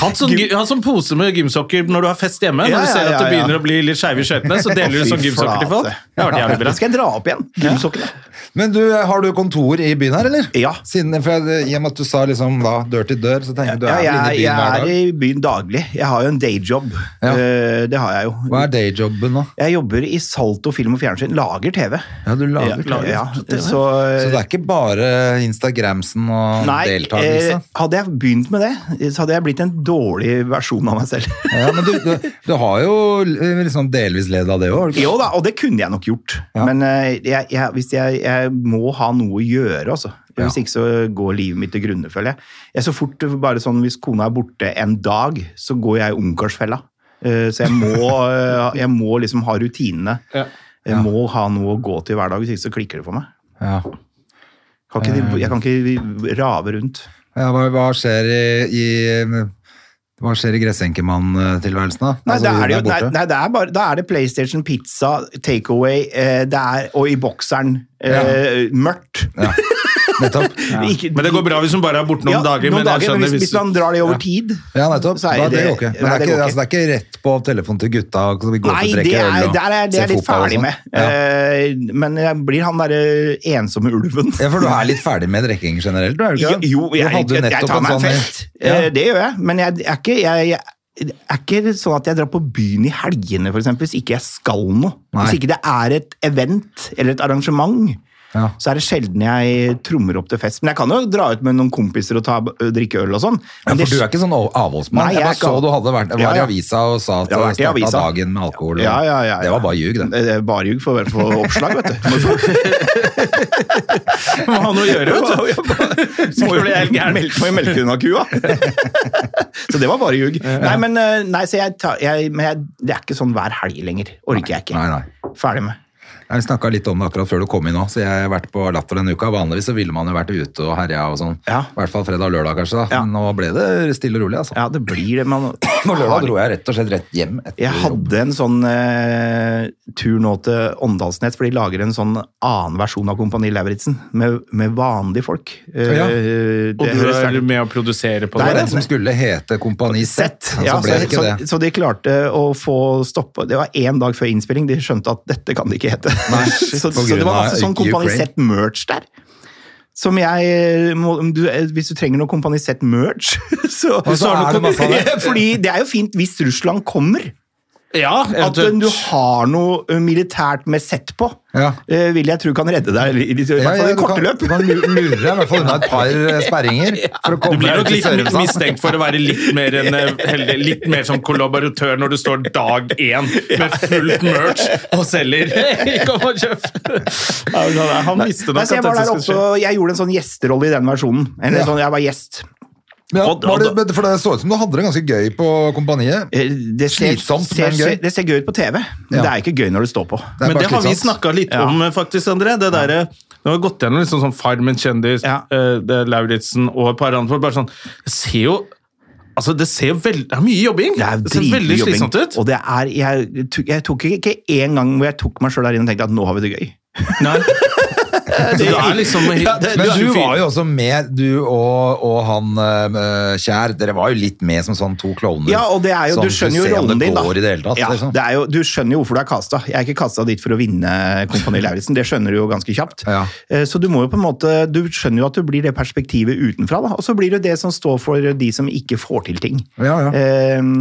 A: Hatt sånn, gy- hatt sånn pose med gymsokker når du har fest hjemme.
C: Ja,
A: når du
C: ja,
A: ser
C: ja,
A: at det
C: ja.
A: begynner å bli litt skeive i skøytene, så deler du sånn
C: Fy
A: gymsokker til folk.
C: flate.
A: Det har vært jævlig
C: Det
A: bra.
C: skal jeg dra opp igjen. Gymsokkene.
B: Men du, eh, har du kontor i byen her, eller?
C: Ja.
B: Siden, for jeg, I og med at du sa liksom da, dør til dør, så tenker jeg du
C: Ja,
B: er
C: jeg,
B: vel inne i
C: jeg
B: byen hver
C: er
B: dag.
C: i byen daglig. Jeg har jo en dayjob.
B: Ja.
C: Eh, Det har jeg jo.
B: Hva er dayjobben nå?
C: Jeg jobber i Salto film og fjernsyn. Lager TV.
B: Ja, du lager
C: Ja,
B: TV.
C: ja, Så, eh,
B: Så det er ikke bare Instagramsen og
C: Nei, eh,
B: deltakelse?
C: hadde jeg begynt med det, så hadde jeg blitt en dårlig versjon av meg selv.
B: Ja, men du, du, du har jo eh, liksom delvis ledd av det òg, har du ikke?
C: Jo da, og det kunne jeg nok gjort.
B: Ja.
C: Men eh, jeg, jeg, hvis jeg, jeg må ha noe å gjøre, altså. Hvis ikke så går livet mitt til grunne, føler jeg. jeg så fort eh, bare sånn, Hvis kona er borte en dag, så går jeg i ungkarsfella. Eh, Så jeg må, eh, jeg må liksom ha rutinene. Jeg må ha noe å gå til hver dag, hvis ikke så klikker det for meg.
B: Ja.
C: Kan
B: Eh.
C: ikke, jeg kan ikke rave rundt.
B: Ja, hva, hva skjer i, i um, Hva skjer i gressenkemann-tilværelsen, da?
C: Nei,
B: Altså,
C: da
B: hun
C: er det, jo, nei,
B: borte.
C: nei, det er bare, da er det PlayStation, pizza, takeaway eh, det er- og i bokseren eh, mørkt.
B: Nettopp.
C: Ikke-
A: Men det går bra hvis hun bare er borte noen
C: Ja,
A: dager.
C: noen
A: men jeg
C: dager, men
A: skjønner
C: hvis,
A: hvis,
C: hvis man drar det over tid
B: Ja, nettopp.
C: Så er
B: Da, det,
C: det-
B: går ikke. Men det,
C: nei, det
B: er ikke,
C: går ikke.
B: altså, det er ikke rett på telefonen til gutta. og så vi går
C: Nei,
B: ut og
C: det
B: drikker
C: er,
B: øl og
C: der er, det
B: ser
C: er litt
B: fotball og
C: ferdig
B: sånn.
C: med.
B: Ja.
C: Eh, men jeg blir han derre ensomme ulven.
B: ja, for du er litt ferdig med drikking generelt, du er jo
C: Jo,
B: ikke det?
C: jo,
B: Du
C: jeg,
B: hadde jo
C: jeg, jeg
B: nettopp en
C: tar meg en
B: sånn-
C: fest.
B: Ja.
C: Eh, Det gjør jeg, men jeg, jeg, er ikke, jeg, jeg er ikke sånn at jeg drar på byen i helgene, for eksempel, hvis ikke jeg skal noe.
B: Nei.
C: Hvis ikke det er et event eller et arrangement,
B: Ja.
C: så er det sjelden jeg trommer opp til fest. Men jeg kan jo dra ut med noen kompiser og ta, drikke øl og sånn.
B: Ja,
C: Men
B: for
C: det
B: du er ikke sånn av- avholdsmann.
C: Nei,
B: jeg
C: jeg
B: bare
C: er ikke
B: så
C: av-
B: du hadde vært, var
C: Ja,
B: i
C: ja.
B: avisa og sa at
C: Jeg har vært i
B: du starta
C: avisa.
B: dagen med alkohol. og-
C: Ja, ja, ja, ja.
B: Det var bare ljug, det.
C: Det er bare ljug for å få oppslag, vet du. Må få-
A: Må ha noe å gjøre, vet du. Så må jo bli helt gæren.
C: Melk- Må jo melke unna kua. så det var bare ljug. Nei, men, eh, nei, så jeg tar, jeg, men jeg, det er ikke sånn hver helg lenger. Orker jeg ikke.
B: Nei, nei.
C: Ferdig med.
B: Jeg snakka litt om det akkurat før du kom inn òg, så jeg har vært på Latter denne uka. Vanligvis så ville man jo vært ute og herja og sånn.
C: Ja.
B: I hvert fall fredag og lørdag, kanskje. da.
C: Ja.
B: Men nå ble det stille og rolig, altså.
C: Ja, det blir det. Man,
B: På lørdag dro jeg rett og slett rett hjem etter
C: jeg
B: jobb.
C: hadde en sånn eh, tur nå til Åndalsnes, for de lager en sånn annen versjon av Kompani Lauritzen med, med vanlige folk. Eh,
B: Ja.
C: det
A: Og du
C: høres
A: er
C: veldig-
A: med å produsere på
B: Det var
C: Nei,
A: det.
B: den som skulle hete Kompani Z, og
C: Ja,
B: så ble det
C: så,
B: ikke
C: så,
B: det.
C: så de klarte å få stoppa Det var én dag før innspilling, de skjønte at dette kan det ikke hete.
B: Nei, shit,
C: så,
B: på
C: så
B: grunn
C: det var
B: av
C: masse sånn Kompani
B: Ukraine.
C: Z-merch der. Som jeg eh, må, om du, eh, Hvis du trenger noe Kompani Z-merch, så,
B: Og så er det masse av det.
C: Fordi det er jo fint hvis Russland kommer.
A: Ja,
C: At
A: eventuelt.
C: du har noe eh, militært med sett på,
B: Ja.
C: eh, vil jeg tro kan redde deg. I, i, i, hvert fall i
B: du kan,
C: korte løp.
B: du kan lu- lure deg i hvert fall unna et par eh, sperringer. For å
A: Du
B: komme
A: blir nok
B: deg ut i
A: litt
B: Sørumsand.
A: mistenkt for å være litt mer, enn, eh, heldig, litt mer som kollaboratør når du står dag én med fullt merch og selger. Hei, Kom og kjøp! Ja, men han- Han visste
C: Nei,
A: nok
C: så jeg
A: at dette
C: var der
A: skulle
C: oppe
A: skje.
C: og jeg gjorde en sånn gjesterolle i den versjonen. En
B: Ja.
C: sånn, jeg var gjest.
B: Men,
A: Og-
B: var
A: og-
B: det, for det så ut som du hadde det ganske gøy på kompaniet.
C: Eh, Det ser,
B: Slitsomt,
C: ser,
B: men gøy.
C: ser, det ser gøy ut på TV, men
B: Ja.
C: det er ikke gøy når det står på.
B: er
A: Men
B: bare
A: det har vi
B: slitsomt.
A: snakka litt om, eh, faktisk, André. Det derre Nå har vi gått gjennom liksom sånn Farmen kjendis,
C: Ja.
A: eh, det er Lauritzen og et par andre folk. Bare sånn Det ser jo Altså, det ser jo veld, det er mye jobbing.
C: Det er
A: ser veldig
C: dritjobbing,
A: slitsomt ut.
C: Og det er, jeg, tok- jeg tok ikke- ikke én gang hvor jeg tok meg sjøl der inne og tenkte at nå har vi det gøy.
A: Nei. Så du er liksom helt
B: Men du var jo også med, du og, og han eh, Kjær. Dere var jo litt med som sånn to klovner.
C: Ja, og det er jo,
B: Sånn,
C: Du skjønner jo
B: ser om
C: rollen din, da.
B: Det går i det hele tatt,
C: ja,
B: liksom.
C: det er jo, du skjønner jo hvorfor du er kasta. Jeg er ikke kasta dit for å vinne Kompani Lauritzen, det skjønner du jo ganske kjapt.
B: Ja.
C: Eh, Så du må jo på en måte, du skjønner jo at du blir det perspektivet utenfra, da. og så blir du det som står for de som ikke får til ting.
B: Ja, ja.
C: Eh,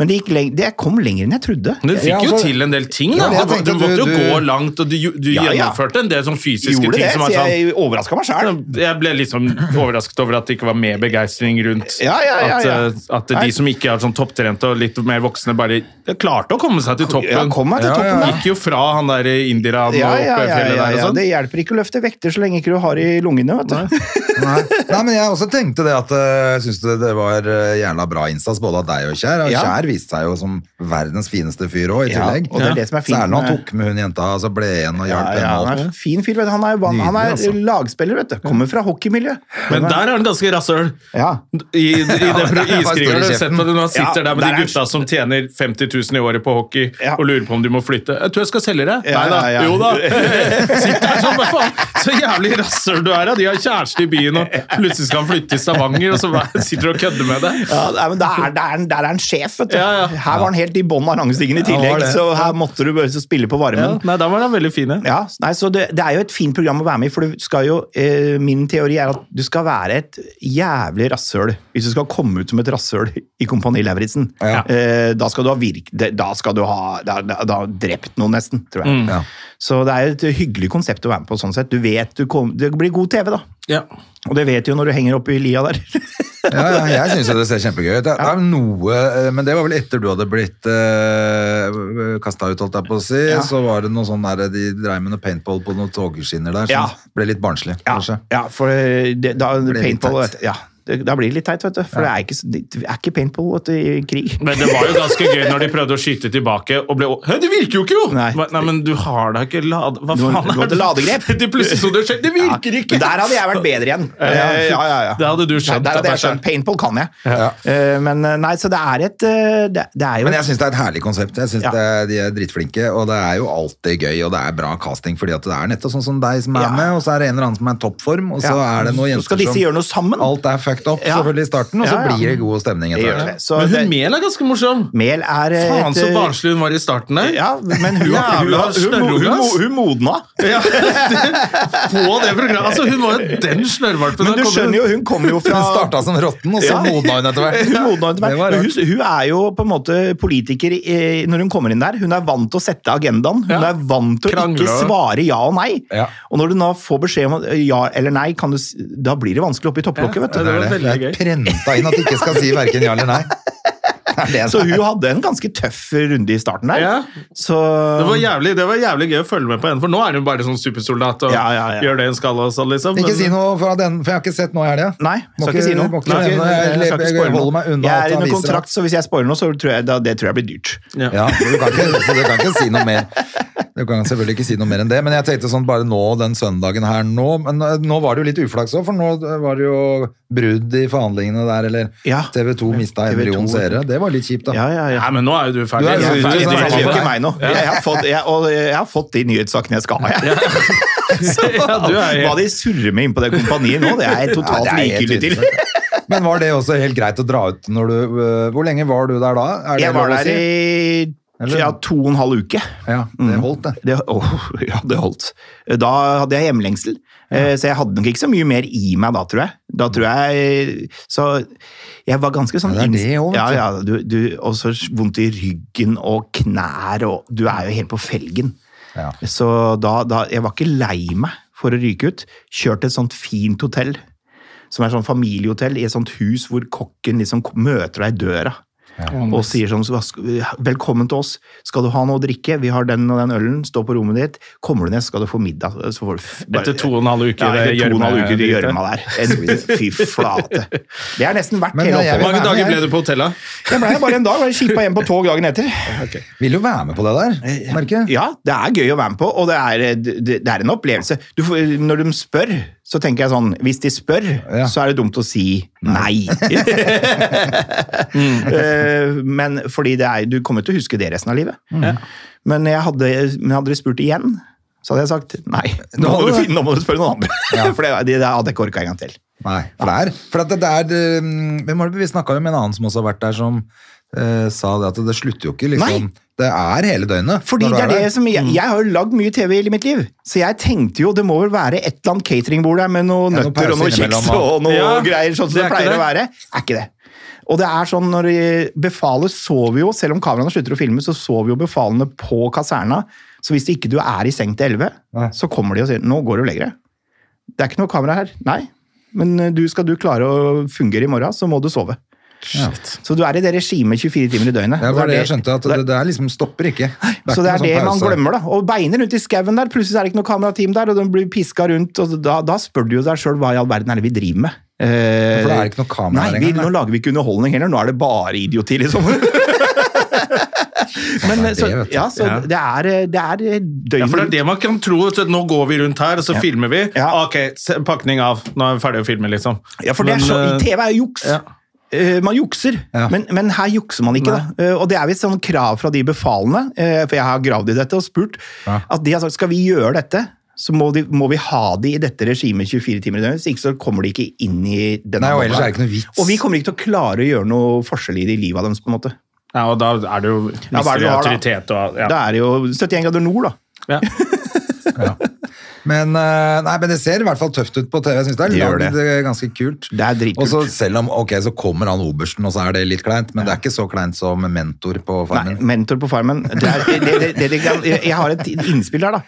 C: Men det, gikk leng det kom lenger enn jeg trodde.
A: Men du fikk
B: Ja,
A: jo
B: altså-
A: til en del ting, da.
B: Ja, jeg
A: du,
B: tenkte
A: du måtte
B: du-
A: jo
B: du-
A: gå langt, og du, ju- du
C: Ja, ja.
A: gjennomførte en del sånn fysiske
C: Gjorde
A: ting
C: det,
A: som
C: så
A: er sånn
C: jeg overraska meg sjæl.
A: jeg ble liksom overrasket over at det ikke var mer begeistring rundt
C: Ja, ja, ja, ja.
A: At, eh, at
C: Nei.
A: de som ikke er sånn topptrente og litt mer voksne, bare klarte å komme seg til toppen.
C: Ja, kom meg til
B: Ja,
C: toppen,
B: ja.
C: da.
A: Gikk jo fra han der indiraen
C: Ja,
A: og
C: ja,
A: oppe i
C: ja,
A: fjellet
C: ja,
A: der og
C: ja.
A: sånn.
C: Det hjelper ikke å løfte vekter så lenge ikke du har i lungene, vet du.
B: Nei. Nei, men jeg også tenkte det at eh, jeg synes det, det var eh, jævla bra innsats både av deg og Kjær. Og
C: Ja.
B: Kjær viste seg jo som verdens fineste fyr òg, i
C: Ja,
B: tillegg.
C: og det er det som er fint
B: Særlig når han
C: med-
B: tok med hun jenta, så ble igjen og
C: Ja,
B: hjalp
C: ja,
B: henne. og
C: han
B: alt.
C: er en fin fyr, vet du. Han er, jo van- han er
B: Nydelig, altså.
C: lagspiller, vet du. Kommer fra hockeymiljø.
A: Men der er han ganske rasshøl.
C: Ja.
A: I, i det
B: bare
A: iskriget har
B: står i
A: du sett på det når han sitter
C: Ja,
A: der med
C: der er
A: de
C: han-
A: gutta som tjener 50 000 i året på hockey
C: Ja.
A: og lurer på om de må flytte. Jeg tror jeg skal selge det.
C: Ja,
A: Nei da.
C: ja, ja.
A: Jo da. Sitter der sånn, hva faen? Så jævlig rasshøl du er, da. De har kjæreste i byen, og plutselig skal han flytte til Stavanger, og så bare sitter du og kødder med det.
C: Ja, nei, men der, er- der, er han- der er han sjef, vet du.
A: Ja, ja.
C: Her var han helt i bånn av rangstigen i
B: Ja, han var
C: tillegg,
B: det.
C: så her måtte du bare spille på
A: Ja,
C: varmen.
A: nei, da var han veldig fin. ja.
C: Ja, nei, så det, det er jo et fint program å være med i, for du skal jo, eh, min teori er at du skal være et jævlig rasshøl hvis du skal komme ut som et rasshøl i Kompani Lauritzen.
B: Ja.
C: Eh, da skal du ha virk... Da skal du ha da, da, da har du drept noen, nesten, tror jeg.
B: Ja.
C: Så det er jo et hyggelig konsept å være med på, sånn sett. Du vet du kom, Det blir god TV, da.
A: Ja.
C: Og det vet du jo når du henger opp i lia der.
B: Ja, ja, jeg syns jo det ser kjempegøy ut. Det er noe, eh, men det var vel etter du hadde blitt uh, kasta ut, holdt jeg på å si.
C: Ja.
B: Så var det noe sånn der de dreiv med noe paintball på noen togskinner der, som
C: Ja.
B: ble litt barnslig,
C: Ja,
B: kanskje.
C: ja for eh, det, da
B: litt
C: paintball
B: teit.
C: vet, du, ja, Det, da blir det litt teit, vet du. For det, er ikke, så- det er ikke paintball vet du, i krig.
A: Men det var jo ganske gøy når de prøvde å skyte tilbake og ble Hæ, det virker jo ikke, jo!
C: Nei.
A: Hva- Nei men du har da ikke lade... Hva
C: Du-
A: faen
C: du måtte ladegrep.
A: Det plutselig så det skjedde. Det
C: Ja,
A: virker ikke!
C: men Der hadde jeg vært bedre igjen. Eh, Ja, ja, ja.
A: Det hadde du skjønt,
C: Der, der
A: at
C: hadde jeg
A: det er-
C: skjønt. Paintball kan jeg.
B: Ja.
C: Eh, Men eh, nei, så det er et eh, Det, det er jo
B: Men jeg syns det er et herlig konsept. Jeg synes
C: Ja.
B: det er, De er dritflinke, og det er jo alltid gøy, og det er bra casting, fordi at det er nettopp sånn som deg som er
C: Ja.
B: med, og så er det en eller annen som er i toppform, og så
C: Ja.
B: er det noen
C: Så
B: jenter
C: skal disse
B: som
C: gjøre noe sammen.
B: Alt er fucked up
C: Ja.
B: selvfølgelig i starten, og så
C: Ja, ja.
B: blir det god stemning
C: Det
B: etter
C: gjør
B: hvert.
C: det. Så
A: Men
C: det,
A: hun Mehl er ganske morsom.
C: Mel er eh,
A: Faen så
C: eh,
A: barnslig hun var i starten der.
C: Ja, men hun,
A: Jævla
C: hun, hun, hun, hun,
A: snørrunge, ass.
C: hun, hun modna.
A: Ja, på det programmet. Altså, hun var jo den snørrvalpen.
C: Men du skjønner jo, hun kommer jo fra
B: Hun starta som rotten, og så
C: Ja.
B: modna hun etter hvert.
C: Hun modna etter
B: Det var
C: hvert. Men
B: rart.
C: Hun, hun er jo på en måte politiker eh, når hun kommer inn der. Hun er vant til å sette agendaen. Hun
A: Ja.
C: er vant til å
A: Krangle.
C: ikke svare ja og nei.
B: Ja.
C: Og når du nå får beskjed om at eh, ja eller nei, kan du, s- da blir det vanskelig oppe i topplokket. vet
A: Ja,
C: du.
A: det var
B: Det
A: veldig
B: er
A: gøy.
B: prenta inn at du ikke skal si verken ja eller nei. Det er det
C: Så
B: som
C: hun
B: er.
C: hadde en ganske tøff runde i starten der.
A: Ja.
C: Så
A: Det var, jævlig, det var jævlig gøy å følge med på henne, for nå er hun bare sånn supersoldat og
C: Ja, ja, ja.
A: gjør det hun skal. og sånn, liksom.
B: Ikke
A: Men-
B: si noe, for, at den, for jeg har ikke sett noe i helga.
C: Nei,
B: Må
C: skal ikke si noe.
B: må ikke
C: Nei,
B: nevne noe. Jeg,
C: skal ikke
B: jeg,
C: spoile noe.
B: holder meg unna
C: Jeg er
B: at
C: under
B: aviser-
C: kontrakt, så hvis jeg spoiler noe, så tror jeg, da, det tror jeg blir dyrt.
B: Ja, så du, kan ikke, så du kan ikke si noe mer. Du kan selvfølgelig ikke si noe mer enn det, men jeg tenkte sånn bare nå den søndagen her nå, men eh, nå var det jo litt uflaks òg, for nå eh, var det jo brudd i forhandlingene der, eller
C: Ja.
B: TV 2 mista en
C: TV2.
B: million seere. Det var litt kjipt, da.
C: Ja, ja, ja.
A: Nei, men nå er jo du
B: Du
A: ferdig.
B: er jo
A: Så-
B: ferdig,
C: Jeg er
B: det
C: ikke-
B: sant?
C: det
B: samme
C: er
B: for
C: ikke
B: deg.
C: meg nå. Jeg har fått, jeg, og jeg har fått de nyhetssakene jeg skal ha. Jeg. Så
A: du er helt-
C: hva de surrer med inn på det kompaniet nå, det er jeg
B: Ja,
C: totalt
B: det er helt
C: likegyldig til.
B: utenfor. Men var det også helt greit å dra ut når du eh, Hvor lenge var du der da? Er det
C: Jeg
B: lov
C: var
B: å
C: der
B: si?
C: i
B: Eller-
C: ja, to og en halv uke.
B: Ja, det holdt, det.
C: Det, åh, ja, det holdt. Da hadde jeg hjemlengsel, eh, så jeg hadde nok ikke så mye mer i meg da, tror jeg. Da tror jeg Så jeg var ganske sånn
B: Ja, det er
C: innst-
B: det også, vet
C: Ja,
B: du.
C: ja, du, du, og så vondt i ryggen og knær og Du er jo helt på felgen.
B: Ja.
C: Så da, da Jeg var ikke lei meg for å ryke ut. Kjørte et sånt fint hotell, som er sånn familiehotell, i et sånt hus hvor kokken liksom k- møter deg i døra. Og sier sånn "Hva sk- Velkommen til oss. Skal du ha noe å drikke? Vi har den og den ølen. Stå på rommet ditt. Kommer du ned, skal du få middag. Så får du f- bare-
A: Etter to og en halv uke
C: ja,
A: i det
C: etter to og en halv uke i det
A: gjørme-
C: gjørma der. En- Fy flate. Det er nesten verdt
B: Men jeg-
C: hele
B: jeg
A: Hvor
B: vil være med,
A: mange
C: oppholdet.
A: dager ble
B: jeg.
A: du på hotellet?
C: Jeg ble her bare en dag, ble skipa hjem på tog dagen etter.
B: Vil jo være med på det der, merker jeg.
C: Ja, det er gøy å være med på, og det er, det, det er en opplevelse. Du får, når de spør, så tenker jeg sånn Hvis de spør,
B: Ja.
C: så er det dumt å si nei. Eh, Men fordi det er Du kommer til å huske det resten av livet. Men, jeg hadde, men hadde de spurt igjen, så hadde jeg sagt nei. Nå må du, finne- nå må du spørre noen andre. For det, det hadde jeg ikke orka en gang til.
B: Nei, for det er For at det det er eh, Hvem var det vi snakka med en annen som også har vært der, som eh, sa det at det slutter jo ikke, liksom.
C: Nei.
B: Det er hele døgnet.
C: Fordi
B: når du
C: det er
B: der. Mm.
C: det som Jeg, jeg har jo lagd mye TV i mitt liv, så jeg tenkte jo det må vel være et eller annet cateringbord der med noen
B: Ja, noen
C: nøtter og noen
B: pauser
C: kjeks
B: innimellom,
C: og noe
A: Ja,
C: greier, sånn som
A: det
C: det,
A: er ikke
C: pleier
A: det.
C: å være. Er ikke det. Og det er sånn når eh, befalet sover jo, selv om kameraene slutter å filme, så sover jo befalene på kaserna. Så hvis ikke du er i seng til 11,
B: Nei.
C: så kommer de og sier 'nå går du og legger deg'. Det er ikke noe kamera her. Nei. Men eh, du, skal du klare å fungere i morgen, så må du sove. Så du er i det regimet 24 timer i døgnet.
B: Ja,
C: Og
B: det var det jeg
C: det-
B: skjønte, at det, det er liksom stopper ikke. ikke
C: så det
B: noe
C: er
B: sånn
C: det man
B: pause.
C: glemmer, da. Og beiner rundt i skauen der, plutselig er det ikke noe kamerateam der, og de blir piska rundt, og da, da spør du jo deg sjøl hva i all verden er det vi driver med? Eh,
B: For det er ikke noe kamera her
C: Nei, vi,
B: engang,
C: nå
B: nei.
C: lager vi ikke underholdning heller, nå er det bare idioti, liksom. Men
B: det er
C: så,
B: det, vet du.
C: ja, så
A: Ja.
C: det er, eh, det er døgnet
A: Ja, for det er det man kan tro. vet du, at Nå går vi rundt her, og så filmer vi.
C: Ja.
A: Ok, se- pakning av. Nå er vi ferdig å filme, liksom.
C: Ja, for det er
A: Men,
C: så,
A: eh,
C: TV er jo juks.
A: ja.
C: Eh, Man jukser,
B: Ja.
C: men, men her jukser man ikke. Da. Eh, Og det er visst sånn krav fra de befalende, eh, for jeg har gravd i dette og spurt,
B: Ja.
C: at de har sagt skal vi gjøre dette, så må, de, må vi ha de i dette regimet 24 timer i døgnet, hvis ikke så kommer de ikke inn i denne
B: Nei, og ellers
C: bobla.
B: er det ikke noe vits.
C: Og vi kommer ikke til å klare å gjøre noe forskjell i det i livet av deres, på en måte.
A: Ja, og da er det jo mister
C: hva er det
A: vi
C: du har, da?
A: autoritet og ja.
C: Da er det jo 71 grader nord, da.
A: Ja.
B: Men, eh, nei, men det ser i hvert fall tøft ut på TV. Jeg synes det er
C: Det gjør
B: lagd eh, ganske kult.
C: Det er dritkult.
B: Og så selv om, ok, så kommer han obersten, og så er det litt kleint, men det er ikke så kleint som mentor på
C: Nei,
B: farmen.
C: mentor på farmen. Det er, det, det, det, det, jeg, jeg har et innspill her, da.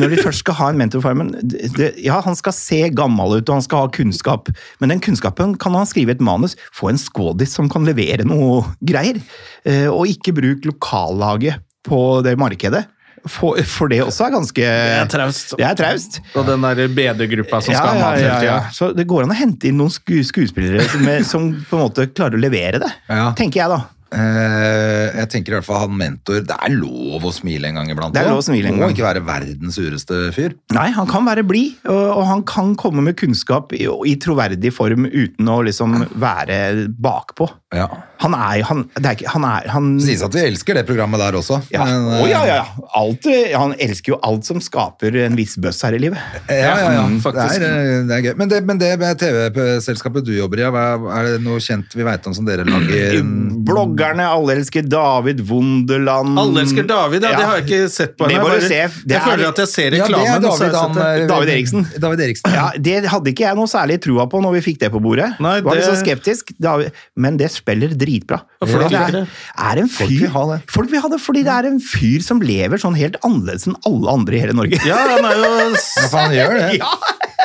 C: Når de først skal ha en mentor på farmen det, det- Ja, han skal se gammel ut, og han skal ha kunnskap, men den kunnskapen kan han skrive i et manus. Få en skådis som kan levere noe greier. Eh, Og ikke bruk lokallaget på det markedet. For, for det også er ganske
A: er traust.
C: Det er traust.
A: Og den der BD-gruppa som skal ha
C: Ja,
A: mat
C: ja,
A: hele
C: ja,
A: tida.
C: ja. Så det går an å hente inn noen sku skuespillere som, som på en måte klarer å levere det,
B: Ja.
C: tenker jeg da.
B: Eh, jeg tenker i hvert fall han mentor Det er lov å smile en gang iblant.
C: Det er
B: også.
C: lov å smile en
B: Må
C: gang.
B: ikke være verdens sureste fyr.
C: Nei, han kan være blid, og, og han kan komme med kunnskap i, i troverdig form uten å liksom være bakpå.
B: Ja.
C: Han er jo han, det er ikke, han er han,
B: Det sies at vi elsker det programmet der også.
C: ja.
B: men,
C: Å,
B: eh,
C: ja, ja, ja. Alt, eh, han elsker jo alt som skaper en viss bøss her i livet.
B: Ja, ja, ja,
A: Mm, faktisk.
B: Det, er, eh, det er gøy. Men det, men det med TV-selskapet du jobber i, hva er det noe kjent vi veit om som dere lager?
C: Bloggerne, alle elsker David Wunderland
A: Alle elsker David, ja. Det har jeg ikke sett på
C: Mm. Det
A: henne.
C: må du
A: Jeg
C: se.
A: bare-
C: Det
A: Jeg
C: er-
A: føler at jeg ser
B: Ja, det er
A: reklamen. og så har
B: David,
A: jeg
B: han,
A: sett det.
B: eh,
C: David Eriksen.
B: David Eriksen.
C: Ja, Det hadde ikke jeg noe særlig trua på når vi fikk det på bordet.
A: Nei,
C: Var
A: det-
C: litt sånn skeptisk, da- Men det spiller dritbra.
A: Og folk
C: det
A: liker
C: er,
A: det.
C: er en
B: Folk vil
C: fyr
B: ha det.
C: Folk vil ha det fordi det er en fyr som lever sånn helt annerledes enn alle andre i hele Norge.
A: Ja, han er jo
B: Ja, faen, han gjør det.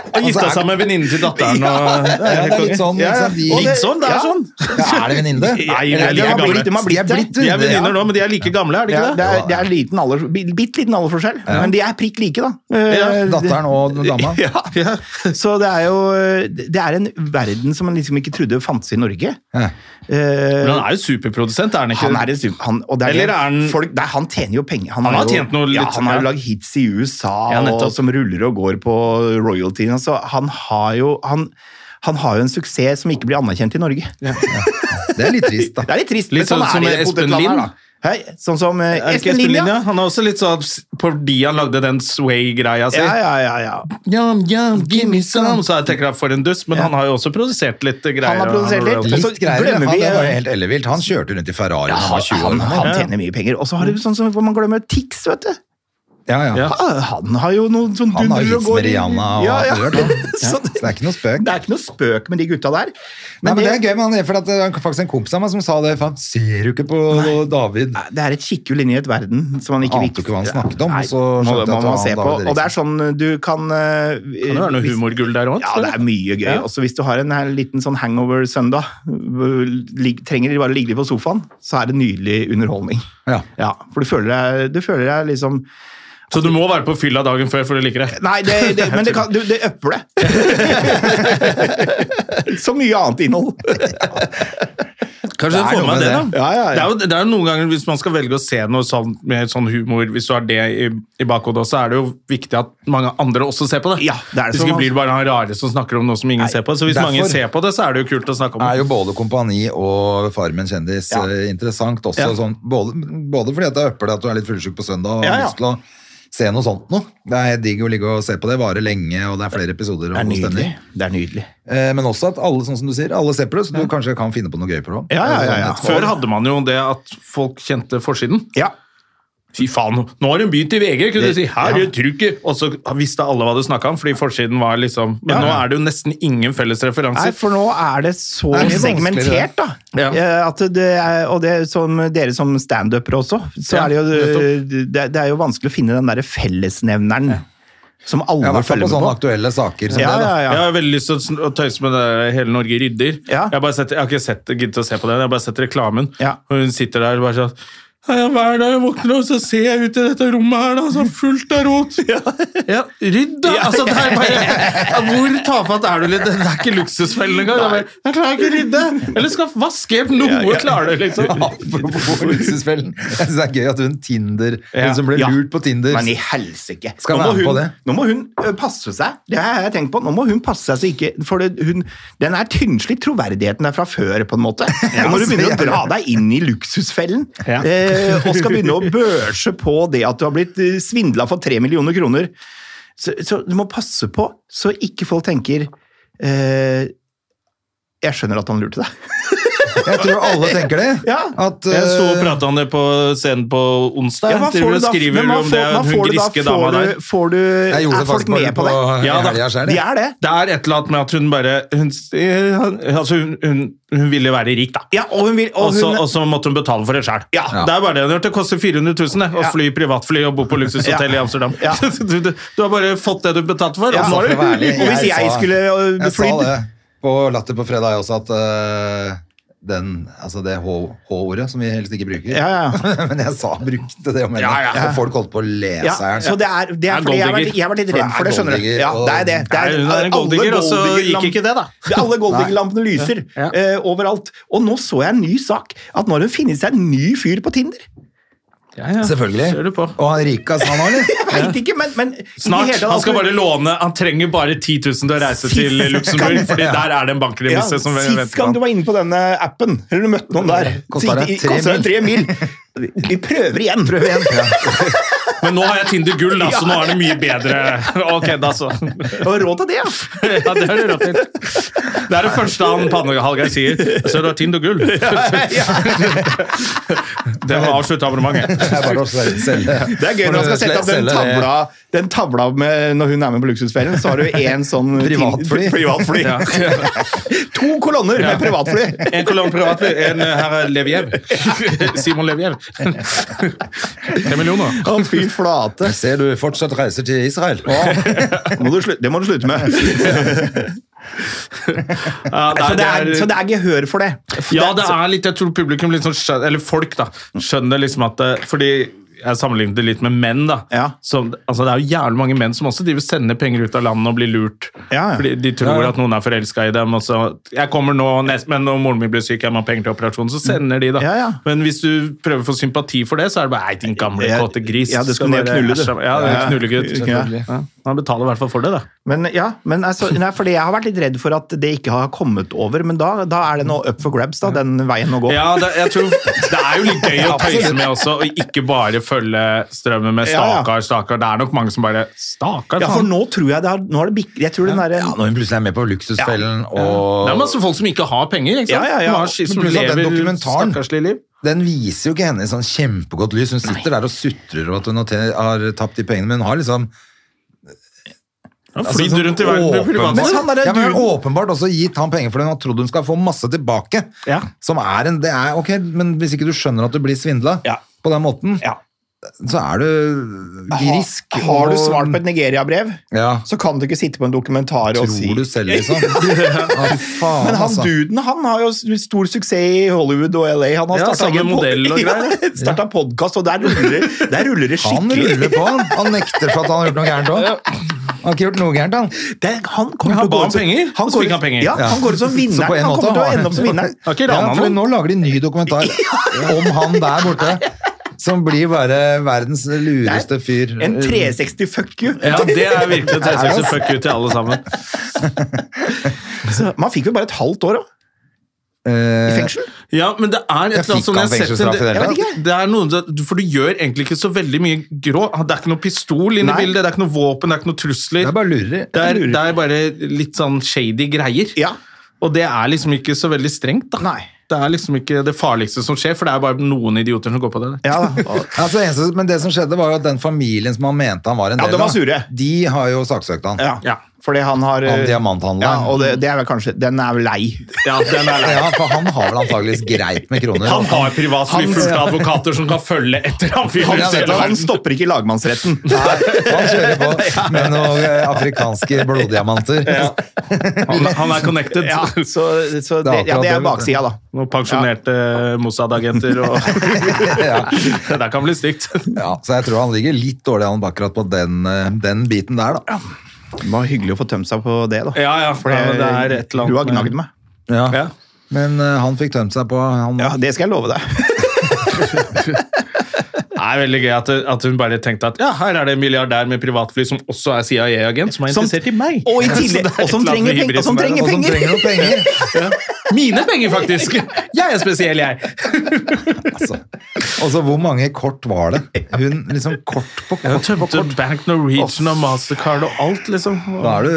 A: Og
C: Altså,
A: gifta
B: er-
A: seg med venninnen til datteren. Og,
B: Ja, det er litt sånn,
A: Ja,
B: ikke
A: ja.
B: sant, de-
A: Og Litt sånn, det er
C: liksom, Ja.
A: sånn.
B: Ja, er det venninne?
A: Nei, vi
B: Eller,
A: er
B: de
A: like gamle.
B: blitt- De har blitt,
C: De er
A: De
B: venninner.
A: er venninner nå, men de er like gamle, er de
C: Ja,
A: ikke
C: det
A: det?
C: er, det er liten alder, bitte liten alderforskjell, men de er prikk like, da.
B: Ja,
C: Eh,
B: Datteren og dama.
A: Ja, ja.
C: Så det er jo Det er en verden som man liksom ikke trodde fantes i Norge.
B: Ja.
C: Eh,
A: Men han er jo superprodusent, er han ikke?
C: Han er en super... Han, og det er
A: Eller
C: det-
A: er han-
C: folk, nei, han tjener jo penger.
A: Han
C: er
A: har
C: jo-
A: tjent noe
C: ja,
A: litt-
C: Han har jo
A: ja.
C: lagd hits i USA
A: Ja, nettopp.
C: og, som ruller og går på royaltyen. Altså, han har jo han, han har jo en suksess som ikke blir anerkjent i Norge.
B: Det er litt trist, da.
C: Det er litt trist.
A: Litt sånn
C: er
A: som
C: det i det
A: Espen
C: potetlandet her,
A: Lind.
C: da. Hei, sånn som eh,
A: Er det ikke
C: Espen Lind, ja.
A: Han er også litt sånn fordi han lagde den sway-greia si.
C: Ja, ja, ja, ja.
A: Yum, yum, give me some. Så jeg tenker at for en dust, men han har jo også produsert litt greier.
C: Han har produsert litt.
A: royalty.
C: Men så
B: Litt greier.
C: glemmer
B: Han,
C: vi-
B: det var jo helt ellevilt. Han kjørte rundt i Ferrari da han var 20 år.
C: Han, han tjener mye penger. Og så har du sånn som man glemmer Tix, vet du.
B: Ja, ja.
A: Ja.
C: Ah, Han har jo noen sånn
B: Han har
C: dundrer og
B: hits
C: går
B: med
C: i-
B: Rihanna og
C: Ja, ja.
B: alt det der, da.
C: Så
B: Så det er ikke noe spøk.
C: Det er ikke noe spøk med de gutta der.
B: Nei, men det er gøy, men det er fordi at det var faktisk en kompis av meg som sa det. Faen, ser du ikke på David?
C: Nei, Det er et kikkhjul inni et verden som man ikke
B: Ante ikke hva han snakket om,
C: Nei,
B: så
C: må,
B: skjønte jeg
C: må
B: at det
C: man
B: var
C: se
B: David
C: på.
B: Eriksen.
C: Og det er sånn du kan
A: Kan
C: Kan
A: det være noe humorgull der òg?
C: Ja, det er mye gøy.
A: Ja.
C: Også hvis du har en her liten sånn hangover-søndag, hvor lig- trenger de bare ligge litt på sofaen, så er det nydelig underholdning.
B: Ja.
C: Ja, for du føler deg, du føler deg liksom
A: Så du må være på fylla dagen før for du liker det?
C: Nei, det, det, men det, kan, du, det øpper det. Så mye annet innhold.
A: Kanskje
B: Det er
A: få
B: noe
A: med
B: med
A: det, da.
B: det.
C: Ja, ja, ja.
A: Det, er jo, det er jo noen ganger, hvis man skal velge å se noe sånn, med sånn humor, hvis du har det i, i bakhodet også, er det jo viktig at mange andre også ser på det.
C: Ja, det er det
A: hvis
C: som-
A: ikke blir det bare han rare som snakker om noe som ingen ser på. Så hvis
B: derfor-
A: mange ser på det, så er det jo kult å snakke om
B: er
A: det.
B: jo både Kompani og Farmen kjendis
C: Ja.
B: eh, interessant også.
A: Ja.
B: Sånn, både, både fordi at det øpper deg at du er litt fullsjuk på søndag og
C: Ja,
B: har
C: ja.
B: lyst til å se noe sånt noe. Det er digg å ligge og se på det. Varer lenge, og det er flere episoder.
C: Det er
B: og god
C: nydelig.
B: stemning.
C: Det er nydelig.
B: Eh, Men også at alle sånn som du sier, alle ser på det, så du kanskje kan finne på noe gøy på det. også.
C: Ja, ja, ja, ja.
B: Sånn,
A: Før hadde man jo det at folk kjente forsiden.
C: Ja,
A: Fy faen, nå har hun begynt i VG, kunne du
C: Det-
A: si. Her er det trykket! Og så visste alle hva du snakka om, fordi forsiden var liksom Men
C: Ja,
A: nå
C: ja.
A: er det jo nesten ingen felles
C: Nei,
A: referanser.
C: for nå er det så
B: Det er mye vanskeligere.
C: segmentert, da.
A: Ja.
C: Eh, At det er, og det er som dere som standupere også, så
A: Ja,
C: er det, jo, eh,
A: nettopp.
C: det, det er jo vanskelig å finne den derre fellesnevneren som alle
B: Ja, i hvert fall
C: følger
B: på sånn sånne
C: med på.
B: aktuelle saker som
C: Ja,
B: det.
C: ja,
B: da.
C: ja.
A: Jeg har veldig lyst til å sn- å tøyse med det der Hele Norge rydder.
C: Ja.
A: Jeg, har bare sett, jeg har ikke sett, giddet å se på det, jeg har bare sett reklamen.
C: Ja.
A: Og hun sitter der og bare sånn «Ja, ja, Hver dag jeg våkner opp, så ser jeg ut i dette rommet her, da, så er det fullt av rot. Ja, rydd, da! Altså, det er bare, ja, hvor tafatt er du litt? Det er ikke luksusfellen engang. Det er bare, Jeg klarer ikke å rydde! Eller skal vaske opp noe, klarer du, liksom.
B: Apropos luksusfellen. Jeg synes det er gøy at hun Tinder,
A: Ja.
B: hun som ble
C: Ja.
B: lurt på Tinder
C: Men i helsike!
B: Skal
C: nå, må
B: være med på
C: hun,
B: det.
C: nå må hun ø, passe seg. Det har jeg tenkt på. Nå må hun passe seg så ikke For det, hun, den er tynnslitt, troverdigheten er fra før, på en måte. Og når du begynner å dra deg inn i luksusfellen
A: Ja.
C: eh, og skal begynne å børse på det at du har blitt svindla for tre millioner kroner så, så du må passe på, så ikke folk tenker eh, Jeg skjønner at han lurte deg.
B: Jeg tror alle tenker det.
C: Ja.
B: At,
A: Jeg sto og
B: eh,
A: prata om det på scenen på onsdag.
C: Ja, hva får
A: Driver
C: du
A: og
C: da-
A: skriver
C: men hva
A: om
C: får-
A: det,
C: hva
A: hun
C: får du da?
A: griske
C: Får
A: dama
C: du-
A: der.
C: Får du
B: eh, jeg gjorde
C: Er
B: det
C: folk
B: faktisk
C: med
B: bare
C: på det?
A: Ja, da.
B: i helga sjøl.
C: De er det.
A: Det er et eller annet med at hun bare Hun, altså hun, hun, hun ville være rik, da.
C: Ja, og hun vil og
A: Og så,
C: hun,
A: og så måtte hun betale for det sjøl.
C: Ja.
A: Det er bare det hun har gjort. Det koster 400 000 det, å fly privatfly og bo på luksushotell i Amsterdam.
C: Ja.
A: Du, du, du har bare fått det du betalte for.
C: Ja,
A: og så har
C: for å
A: du-
C: øh, være ærlig. Og hvis jeg skulle, ø,
B: Jeg sa
C: flydd-
B: det på Latter på fredag også, at eh, den, altså det H- H-ordet, som vi helst ikke bruker.
C: Ja, ja.
B: Men jeg sa brukte det om henne.
A: Ja, ja.
B: Og folk holdt på å le
C: Ja,
B: seg her.
C: så det er, det
A: Er
C: er fordi jeg har, vært,
A: golddigger.
C: jeg har vært litt redd for det, skjønner du.
B: Golddigger,
C: Ja,
B: og-
C: det er det. det
A: Nei, hun er en
C: alle
A: golddigger, og så
C: golddiggerlamp-
A: gikk ikke det, da.
C: Alle golddiggerlampene lyser
A: Ja.
C: eh, overalt. Og nå så jeg en ny sak, at nå har det funnet seg en ny fyr på Tinder.
A: Ja, ja.
B: Selvfølgelig.
A: Ser du på.
B: Og han rikas, han òg, eller?
C: Jeg vet ikke, men, men i det
A: Snart.
C: hele tatt,
A: Han skal
C: altså-
A: bare låne Han trenger bare 10 000 til å reise
C: Sist
A: til Luxembourg,
C: gang-
A: fordi der er det en bankremise som
C: Sist
A: venter
C: gang du
A: ham.
C: var inne på denne appen, eller du møtte noen der,
B: Kostet
C: så-
B: deg tre
C: kostet deg tre mil. Vi prøver igjen.
A: Men nå har jeg Tinder gull, da, så nå er det mye bedre. Ok, da så.
C: Og råd til det, ja.
A: Ja, det har du rett i. Det er det første han Pannehalgeir sier. Så du har Tinder gull. Det var avslutte abonnementet.
B: Det er bare å selge- selge.
C: Det er gøy når han skal sette opp den
B: Selge det.
C: tavla, den tavla med, når hun er med på luksusferien, så har du en sånn
B: Privatfly.
C: privatfly.
A: Ja.
C: To kolonner med privatfly!
A: En kolonn privat, en herr Leviev. Simon Leviev. Tre millioner.
C: Å, fy flate.
B: Jeg ser du fortsatt reiser til Israel.
C: Må du slutte, det må du slutte med.
A: Ja, nei,
C: Så det er,
A: det er-
C: så det er gehør for det.
A: Ja, det er litt, jeg tror publikum litt sånn skjønner, eller folk da, skjønner liksom at det, fordi jeg sammenlignet det litt med menn da.
C: Ja.
A: Så, altså, det er jo jævlig mange menn som også driver og sender penger ut av landet og blir lurt.
C: Ja, ja.
A: Fordi de tror at noen er forelsket i dem. Og så, jeg kommer nå, nest, men når moren min blir syk, jeg må ha penger til operasjonen, så sender de da.
C: Ja, ja.
A: Men hvis du prøver å få sympati for det, så er det bare, ei, din gamle
C: Ja,
A: kåte gris.
C: ja, det
A: skal
C: skulle jeg
A: bare
C: knulle, du.
A: æsje av- Ja, det er en
C: Ja,
A: knullegutt.
C: selvfølgelig.
A: Ja. Han betaler i hvert fall for det da.
C: Men ja, men altså, nei, fordi jeg har vært litt redd for at det ikke har kommet over, men da, da er det noe up for grabs, da, den veien å gå.
A: Ja, det, jeg tror, det er jo litt gøy å tøyse med også, og ikke bare følge strømmen med
C: Ja, ja.
A: stakar, stakar. Det er nok mange som bare Stakar,
C: Ja, for
A: faen!
C: nå tror jeg det har, nå har det bikket Jeg tror den derre
B: Ja, når hun plutselig er med på Luksusfellen
A: Det er
B: og
A: masse folk som ikke har penger, ikke sant?
C: Ja, ja, ja.
A: Som, har, sk-
B: Men
A: som
B: pluss at den
A: lever
B: dokumentaren-
A: stakkarslig liv.
B: Den viser jo ikke henne i sånn kjempegodt lys. Hun sitter der og sutrer over at hun har tjent- har tapt de pengene, men hun har liksom
A: Han
B: altså,
A: flyr
B: sånn
A: rundt i verden med
B: åpenbart,
A: privatfly.
C: han derre
B: ja, men sånn- hun har
C: duden-
B: åpenbart også gitt han penger for det, hun har trodd hun skal få masse tilbake.
A: Ja.
B: Som er en, det er ok, men hvis ikke du skjønner at du blir svindla
C: Ja.
B: på den måten,
C: Ja.
B: så er du grisk.
C: Har, har du
B: og-
C: svart på et Nigeria-brev,
B: Ja.
C: så kan du ikke sitte på en dokumentar og si
B: Tror du selv, liksom? Ja, faen,
C: Men han
B: altså.
C: duden han har jo stor suksess i Hollywood og LA. Han har
A: Ja,
C: startet
A: samme
C: egen pod-
A: modell og greier.
C: Ja, startet podcast, og der ruller, det- der ruller det
B: Han
C: skikkelig.
B: ruller på, han. Han nekter for at han har gjort noe gærent òg. Han har ikke gjort noe gærent, han.
C: Det, han kommer
A: Men
C: til
A: han
C: å
A: ba
C: gå
A: om
C: ut som-
A: penger, og så
C: går
A: fikk
C: ut-
A: han penger.
C: Ja, han går ut som vinner.
B: Så på en
C: Han kommer
B: måte
C: til å
B: har-
C: ende opp som vinner.
A: Har
B: Ja,
A: ikke rana
B: for
A: noen.
B: nå lager de en ny dokumentar om han der borte. Som blir bare verdens lureste fyr. Eh,
C: En 360 fuck you.
A: Ja, det er virkelig 360 fuck you til alle sammen.
C: Så Man fikk vel bare et halvt år også, i
B: Eh,
C: fengsel?
A: Ja, men det er et
B: Jeg
A: eller annet
B: fikk
A: som
B: han
A: jeg har sett
B: fengselsstraff i det hele
A: det, det er noen, For du gjør egentlig ikke så veldig mye grå. Det er ikke noe pistol inne
C: Nei.
A: i bildet, det er ikke noe våpen, det er ikke noe
B: det
A: trusler.
B: er bare lureri.
A: Det er, det er bare litt sånn shady greier.
C: Ja.
A: Og det er liksom ikke så veldig strengt, da.
C: Nei.
A: Det er liksom ikke det farligste som skjer, for det er bare noen idioter som går på det. det.
C: Ja, da.
B: Altså, eneste, men det som skjedde, var jo at den familien som han mente han var en
C: Ja,
B: del
C: de var
B: av,
C: sure.
B: de har jo saksøkt han.
C: ja.
A: Ja.
C: Fordi han har
B: Han
C: eh,
B: diamanthandleren.
C: Ja, og det, det er vel kanskje Den er vel lei.
A: Ja, den er
B: Ja, for han har vel antageligvis greit med kroner.
A: Han har privatfly fullt av advokater som kan følge etter ham. fyren
B: Han-
A: ut i hele
B: nettopp.
C: Han
A: verden.
C: stopper ikke i lagmannsretten.
B: Nei, han kjører på med noen eh, afrikanske bloddiamanter.
A: Han, han er connected.
C: Ja, så,
B: Det er
C: så det, ja,
B: akkurat
C: det
B: det,
C: er
B: vet du.
C: baksida, da.
A: Noen pensjonerte Mossad-agenter og
B: Ja.
A: Det der kan bli stygt.
B: Ja, så jeg tror han ligger litt dårlig an akkurat på den, eh, den biten der, da.
C: Det var hyggelig å få tømt seg på det, da.
A: Ja, ja,
C: For det,
A: ja, men det er et eller annet
C: Du har
A: med-
C: gnagd meg.
B: Ja.
A: Ja.
B: Men eh, han fikk tømt seg på han,
C: Ja, det skal jeg love deg.
A: Det er veldig gøy at, at hun bare tenkte at ja, her er det en milliardær med privatfly som også er CIA-agent, som er
C: Som-
A: interessert i meg.
C: Og, i
A: Så det er
C: tillegg,
A: et
C: og som
A: eller annet
C: trenger
A: med
C: penger! Og
A: hybrisen
C: som
A: der,
C: trenger
B: og som
C: penger.
B: trenger noen penger.
A: Mine penger, faktisk! Jeg er spesiell, jeg.
B: Altså. Og så hvor mange kort var det? Hun liksom kort på
A: Jeg
B: kort på kort.
A: tømte Bank Norwegian og Mastercard og alt, liksom.
B: Da er du,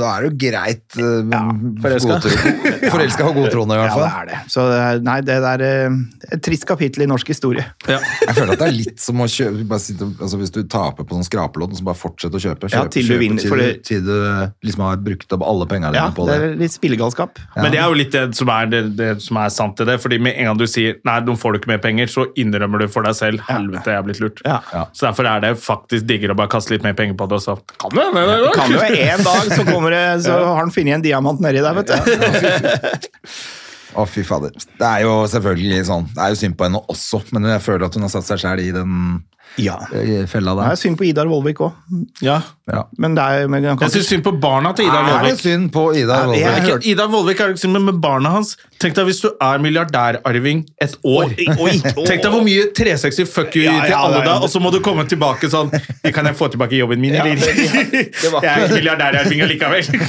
B: da er du greit eh,
A: forelska.
B: godtro- Forelska og godtroende, i hvert
C: Ja, det
B: fall.
C: er det. Så det er- nei, det der eh, Et trist kapittel i norsk historie.
A: Ja.
B: Jeg føler at det er litt som å kjøpe bare sitte, altså Hvis du taper på sånn skrapelodd, så bare fortsett å kjøpe. kjøpe
C: Ja, til du
B: kjøpe,
C: vinner,
B: til,
C: for
B: du-
C: det-
B: til du liksom har brukt opp alle pengene
C: Ja,
B: dine på det.
C: det er litt spillegalskap.
A: Men det er jo litt det som er, det, det som er sant i det. fordi med en gang du sier nei, nå får du ikke mer penger, så innrømmer du for deg selv helvete, jeg er blitt lurt.
C: Ja.
A: Så derfor er det faktisk diggere å bare kaste litt mer penger på det. og så kan det, det, det,
C: Kan jo en dag så, kommer det, så har han funnet en diamant nedi der, vet du.
B: Å, fy fader. Det er jo selvfølgelig sånn. Det er jo synd på henne også, men jeg føler at hun har satt seg sjæl i den
C: Ja.
B: eh, fella
C: Det er
B: der.
C: synd på Idar Vollvik òg.
A: Ja.
B: Ja.
C: Men det er, men han kan
A: Jeg syns synd på barna til Idar
B: Er det
A: Vollvik.
B: synd på Ida?
C: Ja,
B: Wolden?
C: jeg-
A: Ikke- Idar Vollvik er jo ikke synd, men med barna hans Tenk deg hvis du er milliardærarving et år. Tenk deg hvor mye 360 fuck you
C: Ja, ja,
A: til alle
C: det er-
A: da, og så må du komme tilbake sånn Kan jeg få tilbake jobben min, eller?
B: var-
A: Jeg er ikke milliardærarving allikevel.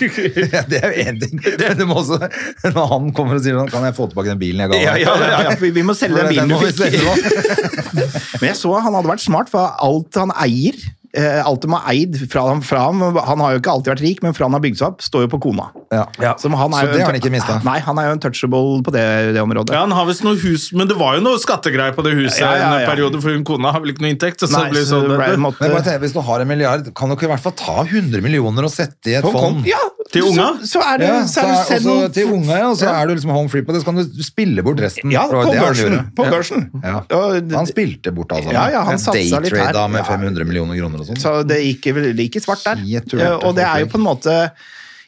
B: Ja, det er jo én ting. Men du må også, når han kommer og sier sånn, kan jeg få tilbake den bilen jeg ga deg?
C: Ja, ja, ja, ja. Vi, vi må selge den bilen
B: må
C: du
B: vi
C: fikk.
B: selge nå.
C: Men jeg så han hadde vært smart, for alt han eier eh, Alt de har eid fra han, fra han Han har jo ikke alltid vært rik, men fra han har bygd seg opp, står jo på kona.
B: Ja.
C: Som han er
B: Så
C: jo
B: det
C: en-
B: har han ikke mistet.
C: Nei, han er jo en touchable på det, det området.
A: Ja, han har visst noe hus, men det var jo noe skattegreier på det huset
C: Ja, ja, ja, ja.
A: en periode, for hun kona har vel ikke noe inntekt. Så,
C: Nei,
A: så, ble det
C: så
A: sånn,
C: det ble en måte-
B: Men jeg bare tenker, Hvis du har en milliard, kan du ikke i hvert fall ta 100 millioner og sette i et
C: Hong Kong.
B: fond?
C: Ja,
A: Til
C: så-
A: unga?
C: Så, er det,
B: Ja,
C: så
B: så
C: er
B: er,
C: det
B: og
C: send
B: så
C: noen
B: til unge, og så er du liksom home free på det, så kan du spille bort resten.
C: Ja,
B: Det var
C: på
B: det han
C: børsen.
B: gjorde.
C: På
B: Ja.
C: børsen.
B: Ja.
C: Og det-
B: Han spilte bort alt sammen.
C: Ja, ja, han
B: Jeg
C: satsa litt her.
B: daytrada med
C: Ja.
B: 500 millioner kroner og sånn.
C: Så det gikk vel like svart der.
B: Shit, turte,
C: Eh, og det er jo
B: folkens.
C: på en måte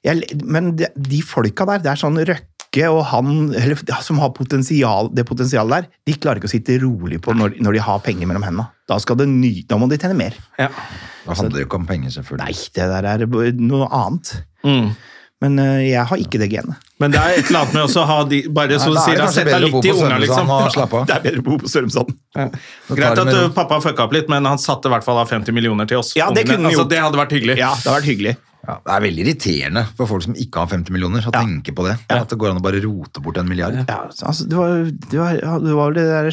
C: jeg, Men de, de folka der, det er sånn Røkke og han eller, ja, som har potensial, det potensialet der, de klarer ikke å sitte rolig på når, når de har penger mellom hendene. Da, skal det ny, da må de tjene mer.
B: Det handler jo ikke om penger,
C: Nei,
B: selvfølgelig.
C: det der er b- noe annet. Men eh, jeg har ikke det genet.
A: Men det er et eller annet med også å ha de Bare som du
B: da er det
A: sier,
B: kanskje
A: sett
B: bedre
A: deg
B: å bo
A: litt i
B: på
A: unga,
B: Sørumsand
A: liksom.
B: og slappe av.
C: Det er bedre å bo på Sørumsand.
B: Da tar
A: Greit
B: det
A: at
B: med
A: ø,
B: ro.
A: pappa fucka opp litt, men han satte i hvert fall av 50 millioner til oss.
C: Ja, det
A: ungene.
C: kunne han
A: altså,
C: gjort.
A: det hadde vært hyggelig.
C: Ja, det har vært hyggelig.
B: Ja, det er veldig irriterende for folk som ikke har 50 millioner, å tenke på det. At det går an å bare rote bort en milliard.
C: Ja, altså, det, var, det, var, ja, det var vel det der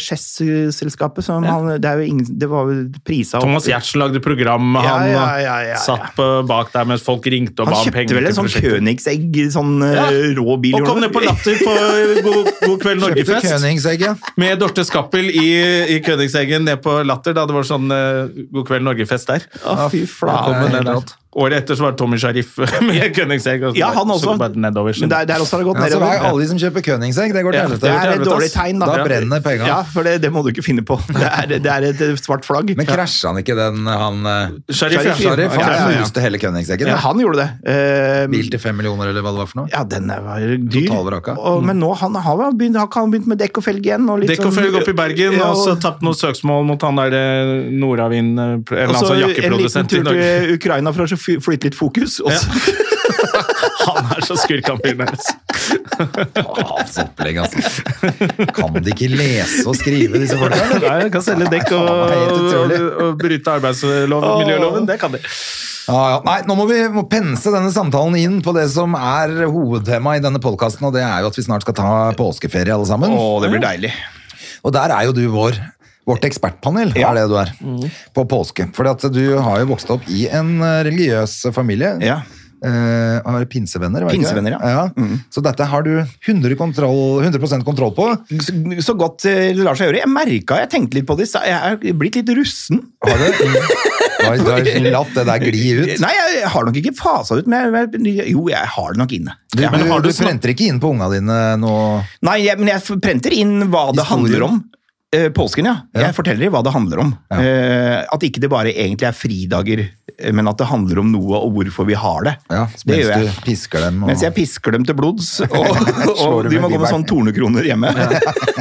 C: Chess-selskapet som han Det, er jo ingen, det var vel prisa opp-
A: Thomas Giertsen lagde program med
C: Ja,
A: han,
C: ja,
A: og
C: ja, ja, ja.
A: satt på, bak der mens folk ringte og ba
C: Han
A: om
C: kjøpte
A: penger.
C: vel en
A: til
C: sånn
A: prosjektet.
C: Königsegg, sånn eh, rå bil.
A: Og kom ned på Latter på eh, God, god kveld
B: Kjøpte
A: Norge-fest
B: Königsegg, ja.
A: med Dorte Skappel i, i Kønigseggen ned på Latter da det var sånn eh, God kveld Norge-fest der.
C: Å, fy
B: Ja,
C: flate.
B: det er helt
A: Nei, nei.
B: rått.
A: Året etter så var det Tommy Sharif med Königsegg. og så
C: Ja, han
A: bare-
C: også.
A: Så bare nedover.
C: Men der, der også har det gått
B: Ja, så
C: nedover.
B: er alle de som kjøper Königsegg, det går til
A: Ja,
B: helvete.
C: Det er
A: Helvete,
C: et dårlig
A: ass.
C: tegn, da.
B: Da brenner penga.
C: Ja, for det, det må du ikke finne på. Det er, det er et svart flagg.
B: Men krasja han ikke den han eh,
A: Sharif,
B: Sharif,
A: ja.
B: Sharif,
C: Ja, ja,
B: han
C: ja.
B: knuste hele Königseggen.
C: Ja,
B: da.
C: han gjorde det. Eh,
B: Bil til fem millioner, eller hva det var for noe.
C: ja, den er- var dyr.
B: Totalvraka.
C: Og, men nå han, har han begynt, har ikke han begynt med dekk og felg igjen. Og litt
A: Dekk og
C: sånn-
A: følg opp i Bergen,
C: Ja,
A: og så tapt noe søksmål mot han der eh, Nordavind, eh, pr- en eller annen
C: og så
A: sånn
C: en liten
A: jakkeprodusent i
C: tur
A: Norge.
C: til Ukraina for å fly- flytte litt fokus. Og så
A: Han er så skurk, han fyren der. altså.
B: Hans opplegg, altså. Kan de ikke lese og skrive, disse folka? eller?
A: Nei, jeg kan selge dekk og,
B: Nei, faen, det er helt
A: og,
B: utrolig.
A: og bryte arbeidsloven, miljøloven. Det kan de.
B: Ja, ja. Nei, nå må vi må pense denne samtalen inn på det som er hovedtemaet i denne podkasten, og det er jo at vi snart skal ta påskeferie, alle sammen.
C: det blir deilig.
B: Og der er jo du vår Vårt ekspertpanel er det du er,
C: Mm.
B: på påske. For du har jo vokst opp i en eh, religiøs familie.
C: Ja.
B: Eh, har pinsevenner, var det ikke det?
C: Pinsevenner, ja. Mm.
B: Så dette har du 100, kontroll, 100 kontroll på.
C: Så, så godt eh, det lar seg gjøre. Jeg merka, jeg tenkte litt på det. så Jeg er blitt litt russen.
B: Har du? Mm. Du har- Du har liksom latt det der gli ut.
C: Nei, jeg har nok ikke fasa ut, men jeg, jeg- jo, jeg har det nok inne.
B: Du,
C: Ja, men
B: du,
C: har
B: du
C: du snak-
B: prenter ikke inn på unga dine nå?
C: Nei, jeg, men jeg f- prenter inn hva det
B: Historier.
C: handler om. Eh, Påsken, ja.
B: Ja.
C: Jeg forteller hva det handler om. Eh, at ikke det bare egentlig er fridager, eh, men at det handler om noe og hvorfor vi har det.
B: Ja,
C: det
B: mens
C: gjør jeg.
B: du pisker dem. Og...
C: Mens jeg pisker dem til blods, og,
B: Slår
C: og
B: dem
C: de
B: med
C: må gå med
B: bibelen.
C: sånn tornekroner hjemme.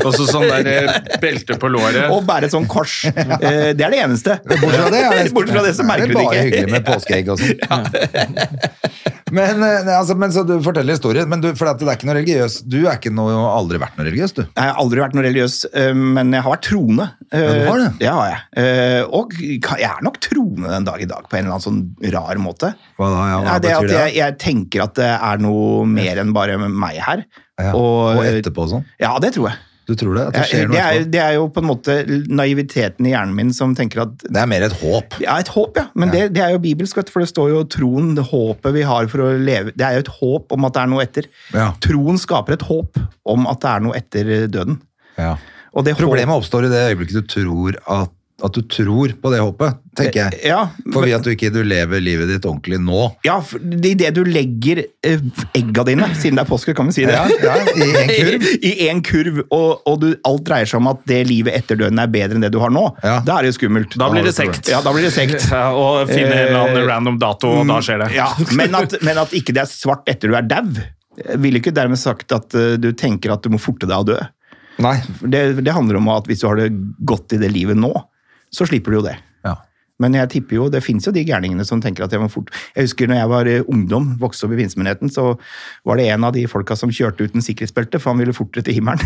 A: Og så sånn der eh, belte på låret.
C: Og bære et sånn kors. Eh, det er det eneste.
B: Bortsett fra det, er det-
C: Bortsett fra det så merker
B: er
C: du det
B: bare
C: ikke.
B: hyggelig med påskeegg og sånn. Men, eh, altså, men så du forteller historien, men du, for at det er ikke noe religiøs. Du er ikke noe, aldri vært noe religiøs, du.
C: Jeg har aldri vært noe religiøs, eh, men jeg har vært troende.
B: Ja, du har det?
C: Det har jeg. Eh, Og ka- jeg er nok troende den dag i dag, på en eller annen sånn rar måte.
B: Hva da? Ja, hva
C: Nei, det
B: betyr
C: er at
B: det?
C: jeg, jeg tenker at det er noe mer enn bare meg her.
B: Ja. Og, etterpå og sånn.
C: Ja, det tror jeg.
B: Du tror det? At det
C: Jeg-
B: skjer
C: Det
B: noe
C: er,
B: etterpå?
C: det er jo på en måte naiviteten i hjernen min som tenker at
B: Det er mer et håp.
C: ja, et håp, ja. Men Det, det er jo bibelsk, vet du, for det står jo troen, det håpet vi har for å leve Det er jo et håp om at det er noe etter.
B: Ja.
C: Troen skaper et håp om at det er noe etter eh, døden.
B: Ja.
C: Og det håp-
B: Problemet oppstår i det øyeblikket du tror at, at du tror på det håpet, tenker jeg.
C: Ja,
B: For ved at du ikke du lever livet ditt ordentlig nå.
C: Ja, for det- i det du legger eh, egga dine, siden det er påske, kan vi si det.
B: Ja, ja, I en kurv.
C: I én kurv, og, og du, alt dreier seg om at det livet etter døden er bedre enn det du har nå.
B: Ja.
C: Da er det jo skummelt.
A: Da blir det
B: Ja,
A: sekt.
C: Ja, da blir det sekt.
A: Ja, og finne en eller annen
C: Eh,
A: random dato, og da skjer det.
C: Ja, men, at, men at ikke det er svart etter du er dau, Jeg vil ikke dermed sagt at eh, du tenker at du må forte deg å dø.
B: Nei.
C: For Det, det handler om at hvis du har det godt i det livet nå, så slipper du jo det.
B: Ja.
C: Men jeg tipper jo, det finnes jo de gærningene som tenker at jeg må fort... Jeg husker når jeg var eh, ungdom, vokste opp i Pinsemyndigheten, så var det en av de folka som kjørte uten sikkerhetsbelte, for han ville fortere til himmelen.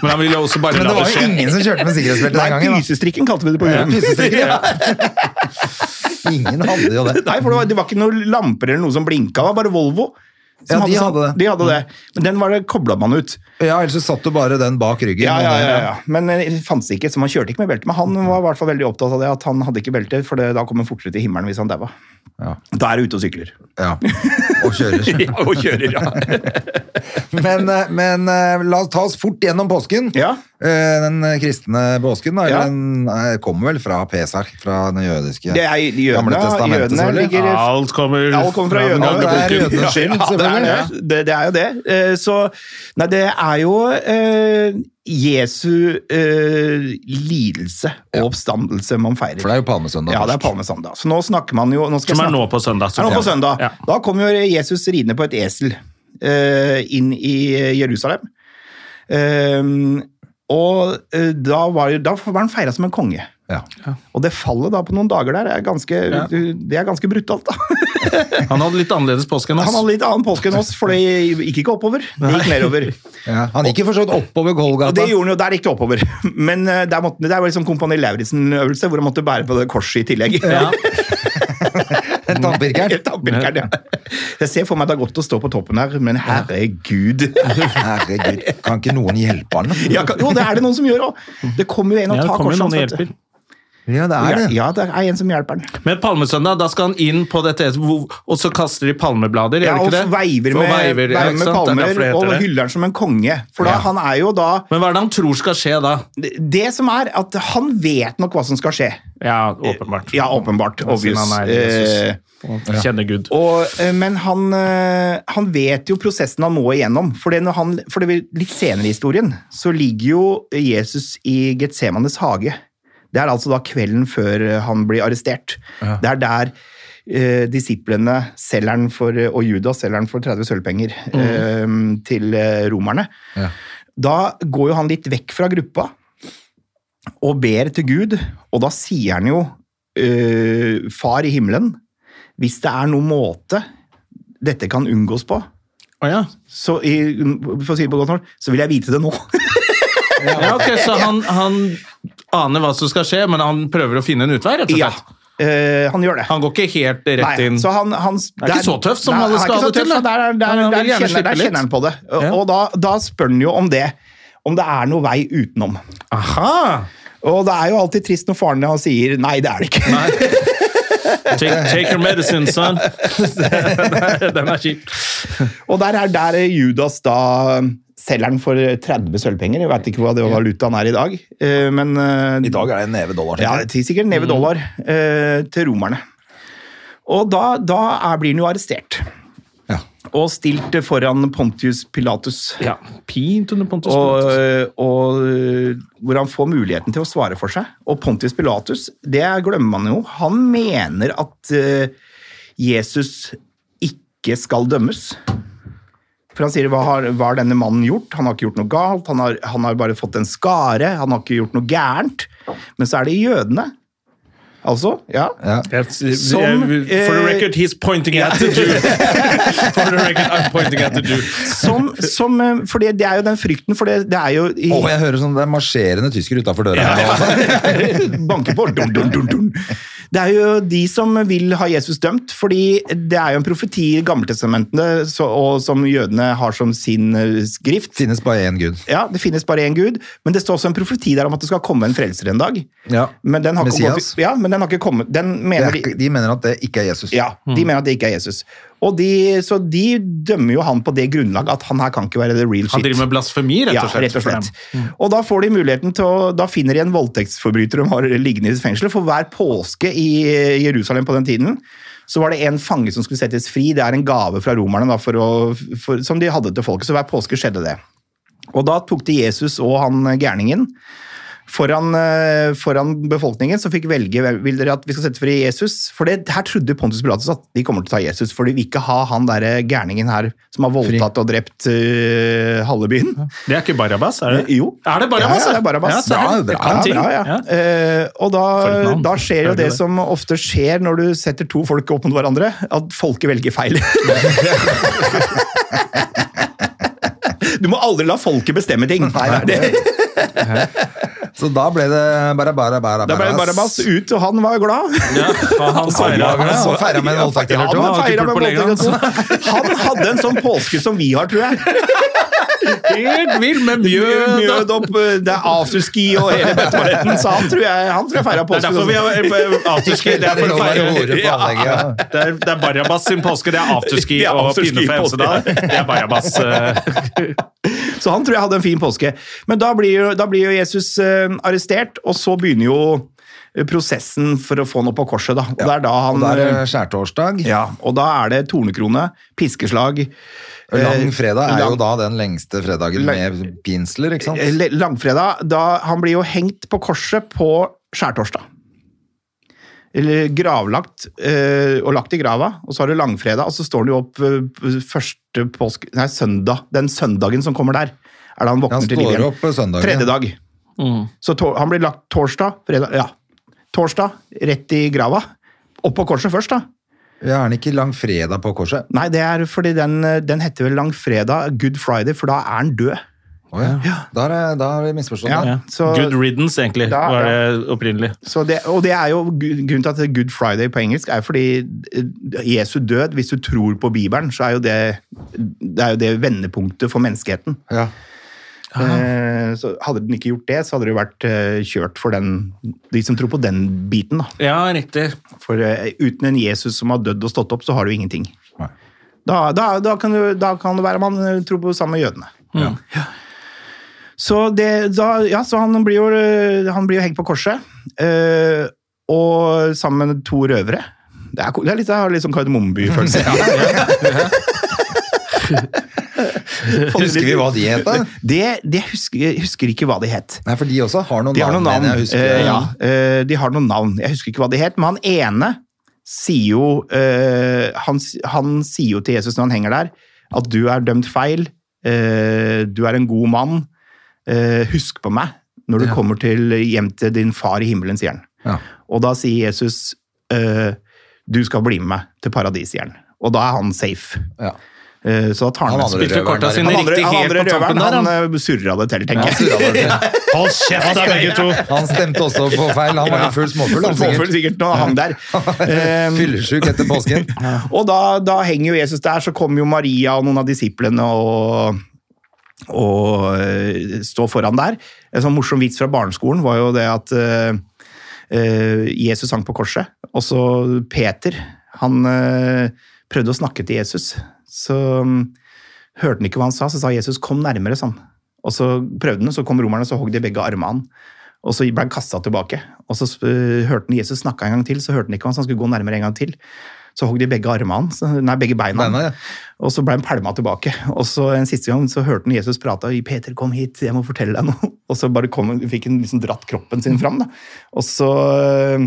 A: Men han ville også bare
B: Men det
A: la det
B: var jo
A: skje.
B: ingen som kjørte med sikkerhetsbelte
C: Nei,
B: den gangen. da.
C: pysestrikken kalte vi det på
B: Ja,
C: grunn.
B: pysestrikken, ja. Ingen hadde jo det.
C: Nei, for det var, det var ikke noen lamper eller noe som blinka, det var bare Volvo. som
B: Ja, de
C: sånn-
B: hadde det.
C: De hadde det. Men den var det kobla man ut.
B: Ja, ellers så satt du bare den bak ryggen.
C: Ja,
B: og
C: ja,
B: den-
C: ja, ja. Men eh, det fantes ikke, så man kjørte ikke med belte. Men han var i hvert fall veldig opptatt av det, at han hadde ikke belte, for det, da kom han fortere til himmelen hvis han daua.
B: Ja.
C: Da er du ute og sykler.
B: Ja. Og kjører.
C: Ja, og kjører, ja.
B: Men, eh, men eh, la oss ta oss fort gjennom påsken.
C: Ja.
B: Eh, Den eh, kristne påsken da, eller
C: Ja.
B: den eh, kommer vel fra Pesach, fra den jødiske
C: Det er
B: Gamle
C: jødene,
B: testamentet,
C: jødene
B: selvfølgelig.
C: ligger
A: Alt kommer,
C: Alt kommer fra jødene.
B: Ja, det er
A: boken.
B: jødenes skyld,
C: Ja, det, er
B: selvfølgelig.
C: det. det, det er jo det. Eh, Så Nei, det er jo eh, Jesu eh, lidelse og oppstandelse man feirer.
B: For det er jo palmesøndag.
C: Ja, det er
B: først.
C: palmesøndag. Så nå snakker man jo nå skal jeg
A: Som er
C: snakke-
A: nå på søndag.
C: er nå på søndag.
A: Ja.
C: Da kom jo Jesus ridende på et esel eh, inn i Jerusalem. Ehm, og eh, da var, da var han feira som en konge.
B: Ja.
C: Og det fallet da på noen dager der er ganske, det er ganske brutalt, da.
A: Han hadde litt annerledes påske enn
C: Han
A: oss.
C: hadde litt annen påske enn oss, for det gikk ikke oppover. Det gikk nedover.
B: Ja. Han gikk jo for så vidt oppover Golgata.
C: Det gjorde han jo, der gikk det oppover. Men eh, der måtte, det er jo liksom Kompani Lauritzen-øvelse, hvor han måtte bære på det korset i tillegg.
A: Ja.
B: Tannpirkeren.
C: Helt avbilkeren, ja. Jeg ser for meg det er godt å stå på toppen her, men herregud
B: Herregud, kan ikke noen hjelpe han? da?
C: ja, kan- Jo, det er det noen som gjør òg! Det kommer jo en
A: Mm. Ja,
C: og
A: det
C: tar
A: kommer
C: korset
A: noen
C: hans. vet
A: hjelper.
C: du.
B: Ja, det er det.
C: Ja, det er en som hjelper han.
A: Men palmesøndag, da skal han inn på dette, hvor- og så kaster de palmeblader,
C: Ja,
A: gjør de
C: og
A: ikke det?
C: veiver
A: Og
C: med,
A: veiver, ja,
C: veiver
A: ikke sant?
C: med
A: Det er derfor
C: palmer
A: det heter
C: og
A: det.
C: hyller han som en konge. For da, han er jo da
A: Men hva er det han tror skal skje da?
C: det- Det som er, at han vet nok hva som skal skje.
A: Ja, åpenbart.
C: Ja, åpenbart.
A: Siden
C: Obvious.
A: han er
C: Eh,
A: Jesus. Og Kjenner Gud.
C: Og, eh, men han, eh, han vet jo prosessen han må igjennom. For, det når han, for det vil- litt senere i historien så ligger jo Jesus i Getsemanes hage. Det er altså da kvelden før eh, han blir arrestert. Det er der eh, disiplene selgeren for, eh, og Judas selger han for 30 sølvpenger eh, til eh, romerne. Da går jo han litt vekk fra gruppa og ber til Gud, og da sier han jo eh, Far i himmelen, hvis det er noen måte dette kan unngås på,
A: Å ja.
C: så, i, for å si det på godt norsk, så vil jeg vite det nå.
A: ja, ok, så han, han aner hva som skal skje, men han prøver å finne en utvei, rett og
C: ja,
A: slett.
C: eh, han gjør det.
A: Han går ikke helt rett
C: Nei,
A: inn.
C: så han, hans-
A: Det er ikke så tøft som
C: Nei,
A: alle
C: han er
A: skal
C: ikke
A: ha
C: så
A: det til, da.
C: tøff, Der, er- der,
A: Men han
C: der,
A: vil gjerne
C: kjenner,
A: slippe
C: der
A: litt.
C: kjenner han på det. Og,
A: Ja.
C: og da, da spør han jo om det. Om det er noe vei utenom.
A: Aha!
C: Og det er jo alltid trist når faren hans sier 'nei, det er det ikke'.
A: Nei. Take, take your medicine, son. Den er kjip.
C: Og der er der er Judas da selger den for 30 sølvpenger. Jeg vet ikke hva det valutaen er i dag, eh, men eh,
B: I dag er det en neve dollar.
C: ja,
B: tenker jeg.
C: til sikkert neve dollar eh, til romerne. Og da, da er, blir han jo arrestert
B: Ja.
C: og stilt foran Pontius Pilatus.
A: Ja, Pint under Pontus
C: Og, eh,
A: Pilatus.
C: og eh, hvor han får muligheten til å svare for seg. Og Pontius Pilatus, det glemmer man jo, han mener at eh, Jesus ikke skal dømmes. For han sier hva har, hva har denne mannen gjort? Han har ikke gjort noe galt, han har, han har bare fått en skare, han har ikke gjort noe gærent. Men så er det jødene. Altså, ja.
A: Jeg- jeg-
C: Som,
A: Eh, for the
C: eh,
A: record, he's pointing at the Jew. For the record, I'm pointing at the Jew.
C: Som, som, eh, for det, det er jo den frykten, for det, det er jo i,
B: Å, jeg hører sånn, det er marsjerende tysker utafor døra. her nå.
C: Banke på. Dun, dun, dun, dun. Det er jo de som vil ha Jesus dømt, fordi det er jo en profeti i Gammeltestamentene så- og som jødene har som sin eh, skrift.
B: Finnes bare én gud.
C: Ja, Det finnes bare én gud, men det står også en profeti der om at det skal komme en frelser en dag.
B: Ja.
C: Men den har ikke,
B: Messias.
C: gått, ja, men den har ikke kommet den
B: Det
C: mener
B: er,
C: de,
B: ikke- de mener at det ikke er Jesus.
C: ja,
A: Mm.
C: de mener at det ikke er Jesus. Og de, så de dømmer jo han på det grunnlag at han her kan ikke være the real shit.
A: Han driver med blasfemi, rett og slett.
C: Ja, rett og
A: for
C: slett.
A: dem. Mm.
C: Og da får de muligheten til å Da finner de en voldtektsforbryter de har liggende i fengselet. For hver påske i Jerusalem på den tiden så var det en fange som skulle settes fri. Det er en gave fra romerne da, for å, for, som de hadde til folket. Så hver påske skjedde det. Og da tok de Jesus og han gærningen foran, eh, foran befolkningen, som fikk velge hvem- vil dere at vi skal sette fri Jesus. For det her trodde Pontus Pilatus at de kommer til å ta Jesus, for de vil ikke ha han der gærningen her som har voldtatt og drept eh, halve byen.
A: Det er ikke Barabas, er det?
C: Eh, jo.
A: Er det Barabas?
C: Ja, ja, det er Barabas.
A: Ja, så
B: Bra,
A: det- det
B: bra,
A: kan
C: Ja,
A: ting.
C: bra, ja.
A: Ja.
C: Eh, og
A: For et
C: da,
A: navn.
C: da skjer jo
A: Hører du
C: det
A: det?
C: som ofte skjer når du setter to folk opp mot hverandre, at folket velger feil. Du må aldri la folket bestemme ting. Nei, det er det.
B: Så da ble det bare bare bare
C: Da ble det Barabas ut, og han var glad.
A: Ja, og han feirer-
B: Han
A: sånn.
B: feira med en voldtekt eller
C: Ja,
B: to.
C: han,
A: har ikke
C: feiret
A: pult på
C: med
A: lenge,
C: voldtekt. altså. han hadde en sånn påske som vi har, tror jeg.
A: Helt vill med mjød. og-
C: Mjød opp, eh, det er afterski og hele bøtteballetten, så han tror jeg, han tror jeg
A: Det er
C: feira påske.
A: derfor vi har eh, afterski. Det er for å feire.
B: Ordet på
A: Ja.
B: anlegget, ja.
A: Det er, det er Barabas sin påske, det er afterski
C: Det er
A: og
C: afterski
A: pinne for
C: påske.
A: Hemsedal. Det er Barabas. eh,
C: Så han tror jeg hadde en fin påske. Men da blir jo, da blir jo Jesus eh, arrestert, og så begynner jo eh, prosessen for å få han opp på korset. Da. Og det er da
B: Og
C: han...
B: da er det
C: eh,
B: skjærtorsdag.
C: ja, og da er det tornekrone, piskeslag. eh,
B: Langfredag er jo
C: lang-
B: da den lengste fredagen
C: Lang-
B: med pinsler, ikke
C: eh,
B: sant?
C: le- Langfredag, da han blir jo hengt på korset på skjærtorsdag. Eller gravlagt, eh, og lagt i grava, og så har du langfredag, og så står han jo opp eh, p- første påske... Nei, søndag. Den søndagen som kommer der, er da han våkner
B: Han
C: til liv
B: står
C: igjen.
B: opp på søndagen.
C: Tredje dag. Så to han blir lagt torsdag, fredag, ja. Torsdag, rett i grava. Opp på korset først, da.
B: Ja, er den ikke langfredag på korset?
C: Nei, det er fordi den, eh, den heter vel langfredag, good friday, for da er han død.
B: Å ja. Da er det- da har vi misforstått
C: Ja,
B: det.
C: Så,
A: Good riddance, egentlig,
C: Ja,
A: var
C: ja.
A: det opprinnelig.
C: så det, og det er jo gu- grunnen til at det er good friday på engelsk, er fordi eh, Jesu død, hvis du tror på Bibelen, så er jo det, det, er jo det vendepunktet for menneskeheten.
B: Ja.
C: Eh, Så hadde den ikke gjort det, så hadde det jo vært eh, kjørt for den, de som tror på den biten, da.
A: Ja, riktig.
C: For eh, uten en Jesus som har dødd og stått opp, så har du ingenting.
B: Nei.
C: Da, da, da, kan du, da kan det være man eh, tror på samme jødene.
B: Mm.
C: Ja. Så, det, da, ja, så han blir jo, eh, han blir jo hengt på korset, eh, og sammen med to røvere. Det er, ko- det er litt, jeg har litt sånn kardemommeby-følelse.
B: Husker vi hva de het, da?
C: Det, det husker, jeg husker ikke hva de het.
B: Nei, for de også har noen
C: De har noen
B: men
C: navn.
B: Jeg husker,
C: Eh, ja. Eh, de har noen navn. Jeg husker ikke hva de het, men han ene sier jo eh, han, s- han sier jo til Jesus når han henger der, at du er dømt feil, eh, du er en god mann, eh, husk på meg når du
B: Ja.
C: kommer til, hjem til din far i himmelen, sier han.
B: Ja.
C: Og da sier Jesus eh, du skal bli med meg til paradis, sier han. Og da er han safe.
B: Ja.
C: Eh, så da tar han,
B: Han
C: med
B: andre
A: Spilte korta
B: røveren
A: sine
C: han andre,
A: riktig
C: han
A: helt
C: andre
A: på tampen
C: røveren,
A: der.
C: han,
A: han.
C: eh, surra det til,
B: Ja,
C: tenker
B: han
C: jeg.
B: surra bare.
A: Hold kjeft, da, begge to!
B: Han stemte også på feil. Han var jo full småfull, han
C: Påfølger
B: sikkert.
C: sikkert når han der. Eh,
B: Fyllesjuk etter påsken.
C: Og da, da henger jo Jesus der, så kommer jo Maria og noen av disiplene og, og eh, står foran der. En sånn morsom vits fra barneskolen var jo det at eh, eh, Jesus hang på korset, og så Peter, han eh, prøvde å snakke til Jesus. Så mm, hørte han ikke hva han sa, så sa Jesus 'kom nærmere', sånn. Og så prøvde han, så kom romerne, så hogg de begge armene han. Og så ble han kasta tilbake. Og så eh, hørte han Jesus snakke en gang til, så hørte han ikke hva han sa, han skulle gå nærmere en gang til. Så hogg de begge armene hans, nei, begge beina.
B: Beina, ja.
C: Og så ble han pælma tilbake. Og så en siste gang så hørte han Jesus prate og 'Peter, kom hit, jeg må fortelle deg noe'. Og så bare kom, han- fikk han liksom dratt kroppen sin fram. Da. Og så øh,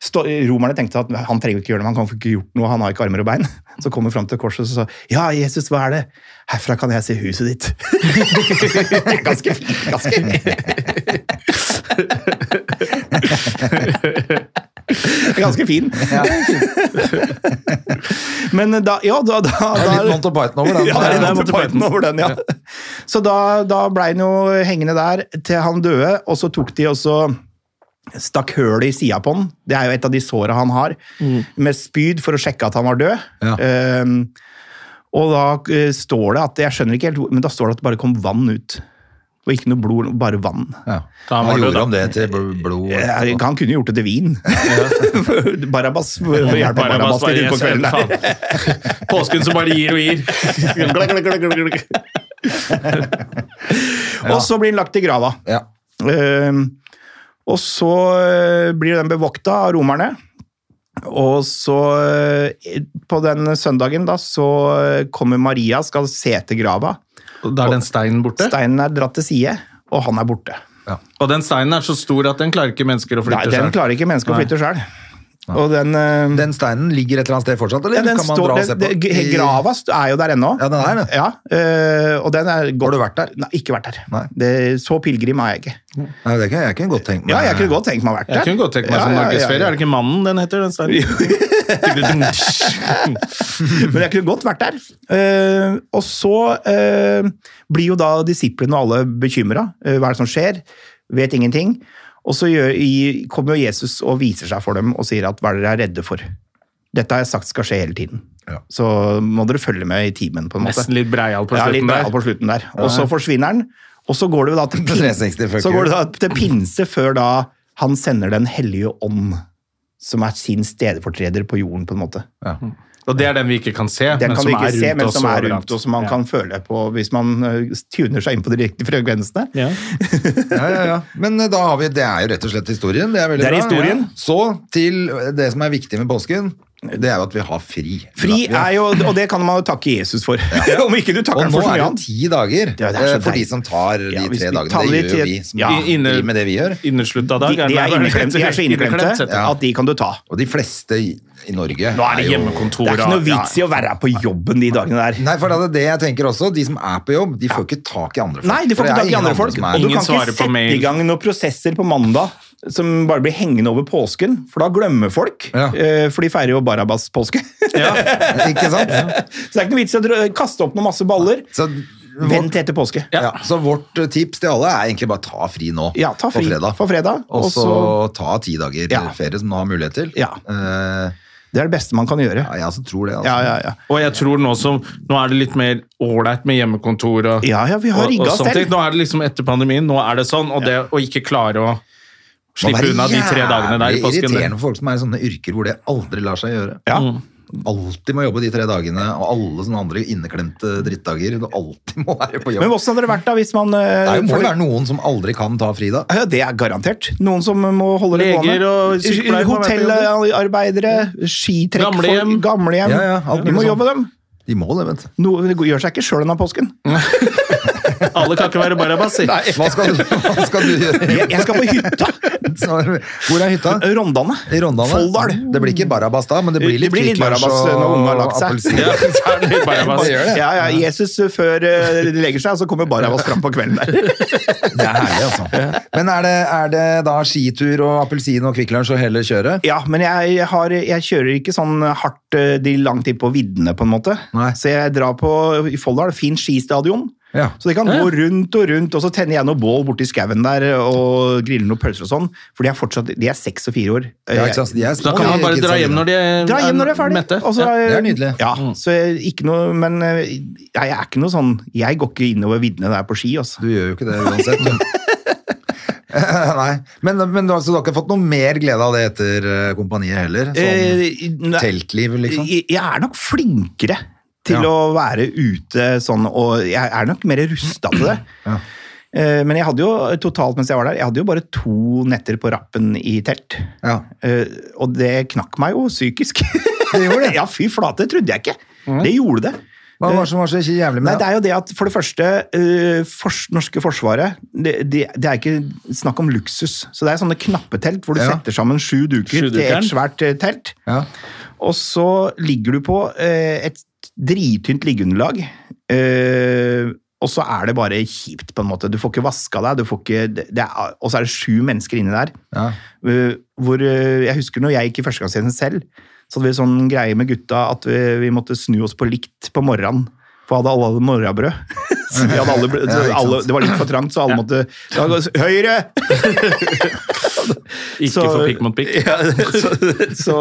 C: stå, Romerne tenkte at han trenger jo ikke gjøre det, men han kan få ikke gjort noe, han har ikke armer og bein. Så kom han fram til korset og så sa 'Ja, Jesus, hva er det?' 'Herfra kan jeg se huset ditt'. ganske fint, ganske Ganske fin. Men da, ja, da, da,
B: Det er
C: da
B: litt Monty Python over
C: ja, det er
B: den.
C: Monty Python over den, ja. Så da, da ble han jo hengende der til han døde, og så tok de også stakk høl i sida på han. Det er jo et av de såra han har, med spyd for å sjekke at han var død.
B: Ja.
C: Ehm, og da eh, står det at Jeg skjønner ikke helt, hvor- men da står det at det bare kom vann ut. Og ikke noe blod, bare vann.
B: Ja.
A: Da var
B: Han
A: det
B: gjorde
A: da.
B: om det til bl- blod.
C: Eh,
B: etterpå.
C: Han kunne jo gjort det til vin. Barabas for å hjelpe Barabas
A: Barabas
C: litt
A: bare
C: utpå kvelden. der.
A: faen. Påsken som bare gir og gir. Glakk, glakk, glakk, glakk, glakk.
C: Og så blir han lagt i grava.
B: Ja.
C: Ehm, og så eh, blir den bevokta av romerne. Og så eh, på den søndagen da, så eh, kommer Maria, skal se til grava.
A: Da er den steinen borte.
C: Steinen er dratt til side, og han er borte.
B: Ja.
A: Og den steinen er så stor at den klarer ikke mennesker å
C: Nei,
A: flytte seg.
C: den klarer ikke mennesket å
A: Nei.
C: flytte sjøl. Og den, eh,
B: Den steinen ligger et eller annet sted fortsatt, eller
C: ja, den
B: kan man
C: står,
B: dra og se
C: den,
B: på?
C: den,
B: I-
C: grava st- er jo der ennå.
B: Ja, den er det.
C: Ja, eh, og den er godt.
B: Har du vært der?
C: Nei, ikke vært der.
B: Nei.
C: Det, så pilegrim er jeg ikke.
B: Nei, det kan jeg kunne godt tenke meg.
C: Ja, jeg kunne godt tenkt meg å vært der.
A: Jeg kunne godt tenkt meg
C: Ja,
A: som
C: ja, ja,
A: norgesferie.
C: ja.
A: Er det ikke Mannen den heter, den steinen?
C: Men jeg kunne godt vært der. Eh, og så eh, blir jo da disiplene og alle bekymra. Eh, hva er det som skjer? Vet ingenting. Og så gjør, i, kommer jo Jesus og viser seg for dem og sier at hva er dere er redde for? Dette har jeg sagt skal skje hele tiden.
B: Ja.
C: Så må dere følge med i timen, på en måte.
A: Nesten litt breial på
C: ja, litt
A: slutten
C: breial
A: der.
C: på slutten der. Og så forsvinner den, og så går det jo da til,
B: 360 fuck
C: så
B: you.
C: går det da til pinse før da han sender Den hellige ånd, som er sin stedfortreder på jorden, på en måte.
A: Og det er den vi ikke kan se,
C: Den
A: men
C: kan
A: som
C: du
A: er
C: ikke se, men
A: rundt oss
C: som er
A: overalt.
C: rundt og som man
A: Ja.
C: kan føle på hvis man øh, tuner seg inn på de riktige frekvensene.
A: Ja.
B: Ja, ja, ja. Men eh, da har vi, det er jo rett og slett historien. Det er veldig
C: Det er
B: bra.
C: historien.
B: Ja. Så til eh, det som er viktig med påsken, det er jo at vi har fri.
C: Fri
B: Vi har-
C: er jo, og det kan man jo takke Jesus for. Om ikke du
B: Og
C: takker ham
B: nå
C: for
B: er det
C: så mye
B: jo
C: annet.
B: ti dager
C: Ja, det er
B: eh,
C: så
B: for de
C: deilig.
B: som tar de
C: Ja, hvis
B: tre
C: vi tar
B: dagene. Det
C: litt
B: gjør jo
C: tid-
B: vi som
C: Ja.
A: Inne-
B: driver med det vi gjør.
A: Inneslutta
C: De,
A: dag.
C: de, er inneklemt, de er så inneklemte
A: Ja.
C: at de kan du ta.
B: Og de fleste i i Norge
A: Nå er det
B: jo-
C: Det
A: hjemmekontor
C: er ikke noe vits i å være på jobben de dagene der.
B: Nei, for det er det jeg tenker også. De som er på jobb, de får ikke tak i andre folk.
C: Nei, de
B: For
C: får
B: det
C: ikke
B: er
C: tak i
B: ingen
C: andre folk.
B: som er-
C: Og du
A: Ingen
C: kan
A: svarer
C: ikke
A: på
C: sette
A: mail.
C: i gang noen prosesser på mandag som bare blir hengende over påsken, for da glemmer folk.
B: Ja.
C: eh, For de feirer jo Barabas-påske. Så det
B: Ikke sant?
C: er ikke noe vits i å dra- kaste opp noen masse baller.
B: Så,
C: Vent etter påske.
B: ja. så vårt eh, tips til alle er egentlig bare ta fri nå.
C: Ja, ta fri
B: På fredag.
C: For fredag.
B: Og
C: Og
B: så
C: så
B: ta ti dager
C: Ja.
B: ferie som du har mulighet til.
C: Ja.
B: Eh,
C: Det er det beste man kan gjøre.
B: ja, jeg også tror det. Altså.
C: Ja, ja, ja.
A: Og jeg tror nå som Nå er det litt mer ålreit med hjemmekontor og
C: Ja, ja, vi har
A: og- og
C: rigget oss
A: sånne
C: selv.
A: ting. Nå er det liksom etter pandemien, nå er det sånn, og det å ikke klare å
B: Må
A: slippe
B: være
A: unna de tre dagene der i
B: jævlig
A: påsken
B: irriterende
A: der.
B: for folk som er i sånne yrker hvor det aldri lar seg gjøre. Mm.
C: Ja.
B: Alltid må jobbe de tre dagene, og alle sånne andre inneklemte drittdager. Du alltid må være på jobb.
C: Men hvordan hadde det vært da hvis man
B: det
C: eh,
B: er jo, må
C: får-
B: jo være noen som aldri kan ta fri da.
C: ja, det er garantert. Noen som må holde det
A: Leger
C: gående.
A: og sykepleiere må være på
C: Hotellarbeidere, skitrekkfolk,
A: Gamlehjem.
C: gamlehjem.
B: Ja, ja, alt
C: Vi må
B: mulig
C: jobbe dem.
B: De må det, vet du.
C: No, det gjør seg ikke sjøl denne påsken.
A: Alle kan ikke være Barabas, si.
B: Hva skal du, hva skal du gjøre?
C: Jeg, jeg skal på hytta!
B: Hvor er hytta?
C: Rondane.
B: I Rondane?
C: Folldal.
B: Det blir ikke Barabas da, men det blir litt,
C: Det blir litt
B: Kvikklunch
C: Barabas
B: og
C: når ungen har lagt seg.
B: appelsin.
A: Ja, så er det litt Barabas.
B: Bare gjør det.
C: Ja, ja, Jesus eh, før eh, de legger seg, og så kommer Barabas fram på kvelden der.
B: Det er herlig, altså. Men er det, er det da skitur og appelsin og kvikklunsj og hele kjøret?
C: Ja, men jeg, har, jeg kjører ikke sånn hardt eh, de langt inn på viddene, på en måte.
B: Nei.
C: Så jeg drar på i Folldal, fint skistadion.
B: Ja.
C: Så de kan gå rundt og rundt, og så tenner jeg noe bål borti skauen der og griller noen pølser og sånn. For de er fortsatt de er seks og fire år. Eh,
B: Ja, ikke sant? De er
A: Da kan man bare dra hjem når de er,
C: sånn. Dra hjem når de er ferdig.
A: mette.
C: Og så
A: Ja.
B: det er nydelig.
C: Ja, så jeg- ikke noe, men eh, jeg er ikke noe sånn Jeg går ikke innover viddene der på ski, altså.
B: Du gjør jo ikke det uansett. du. Nei, men, men du, har- så du har ikke fått noe mer glede av det etter eh, kompaniet heller? Sånn
C: Eh, nei.
B: teltliv, liksom?
C: Jeg jeg er nok flinkere til
B: Ja.
C: å være ute sånn, og jeg er nok mer rusta til det.
B: Ja.
C: Eh, Men jeg hadde jo totalt mens jeg var der, jeg hadde jo bare to netter på rappen i telt.
B: Ja.
C: Eh, Og det knakk meg jo psykisk.
B: Det gjorde det? Mm.
C: ja, fy flate, trodde jeg ikke. Det gjorde det.
B: Hva var det som var så jævlig
C: Nei,
B: med
C: det
B: det?
C: er jo det at for det første, eh, fors norske forsvaret, det, det, det er ikke snakk om luksus. Så det er sånne knappetelt hvor du
B: Ja.
C: setter sammen sju duker
A: Sju
C: til
A: dukeren.
C: et svært eh, telt.
B: Ja.
C: Og så ligger du på eh, et drittynt liggeunderlag. Eh, og så er det bare kjipt, på en måte. Du får ikke vaska deg, du får ikke det det er, Og så er det sju mennesker inni der.
B: Ja.
C: eh, Hvor eh, Jeg husker når jeg gikk i førstegangstjenesten selv, så hadde vi sånn greie med gutta at vi, vi måtte snu oss på likt på morgenen. For hadde alle hadde morrabrød. Så vi hadde alle, brød-
B: Ja, ikke sant.
C: alle, det var litt for trangt, så alle måtte da går- Høyre!
A: Ikke
C: Så-
A: for pikk mot pikk.
C: Ja, så, så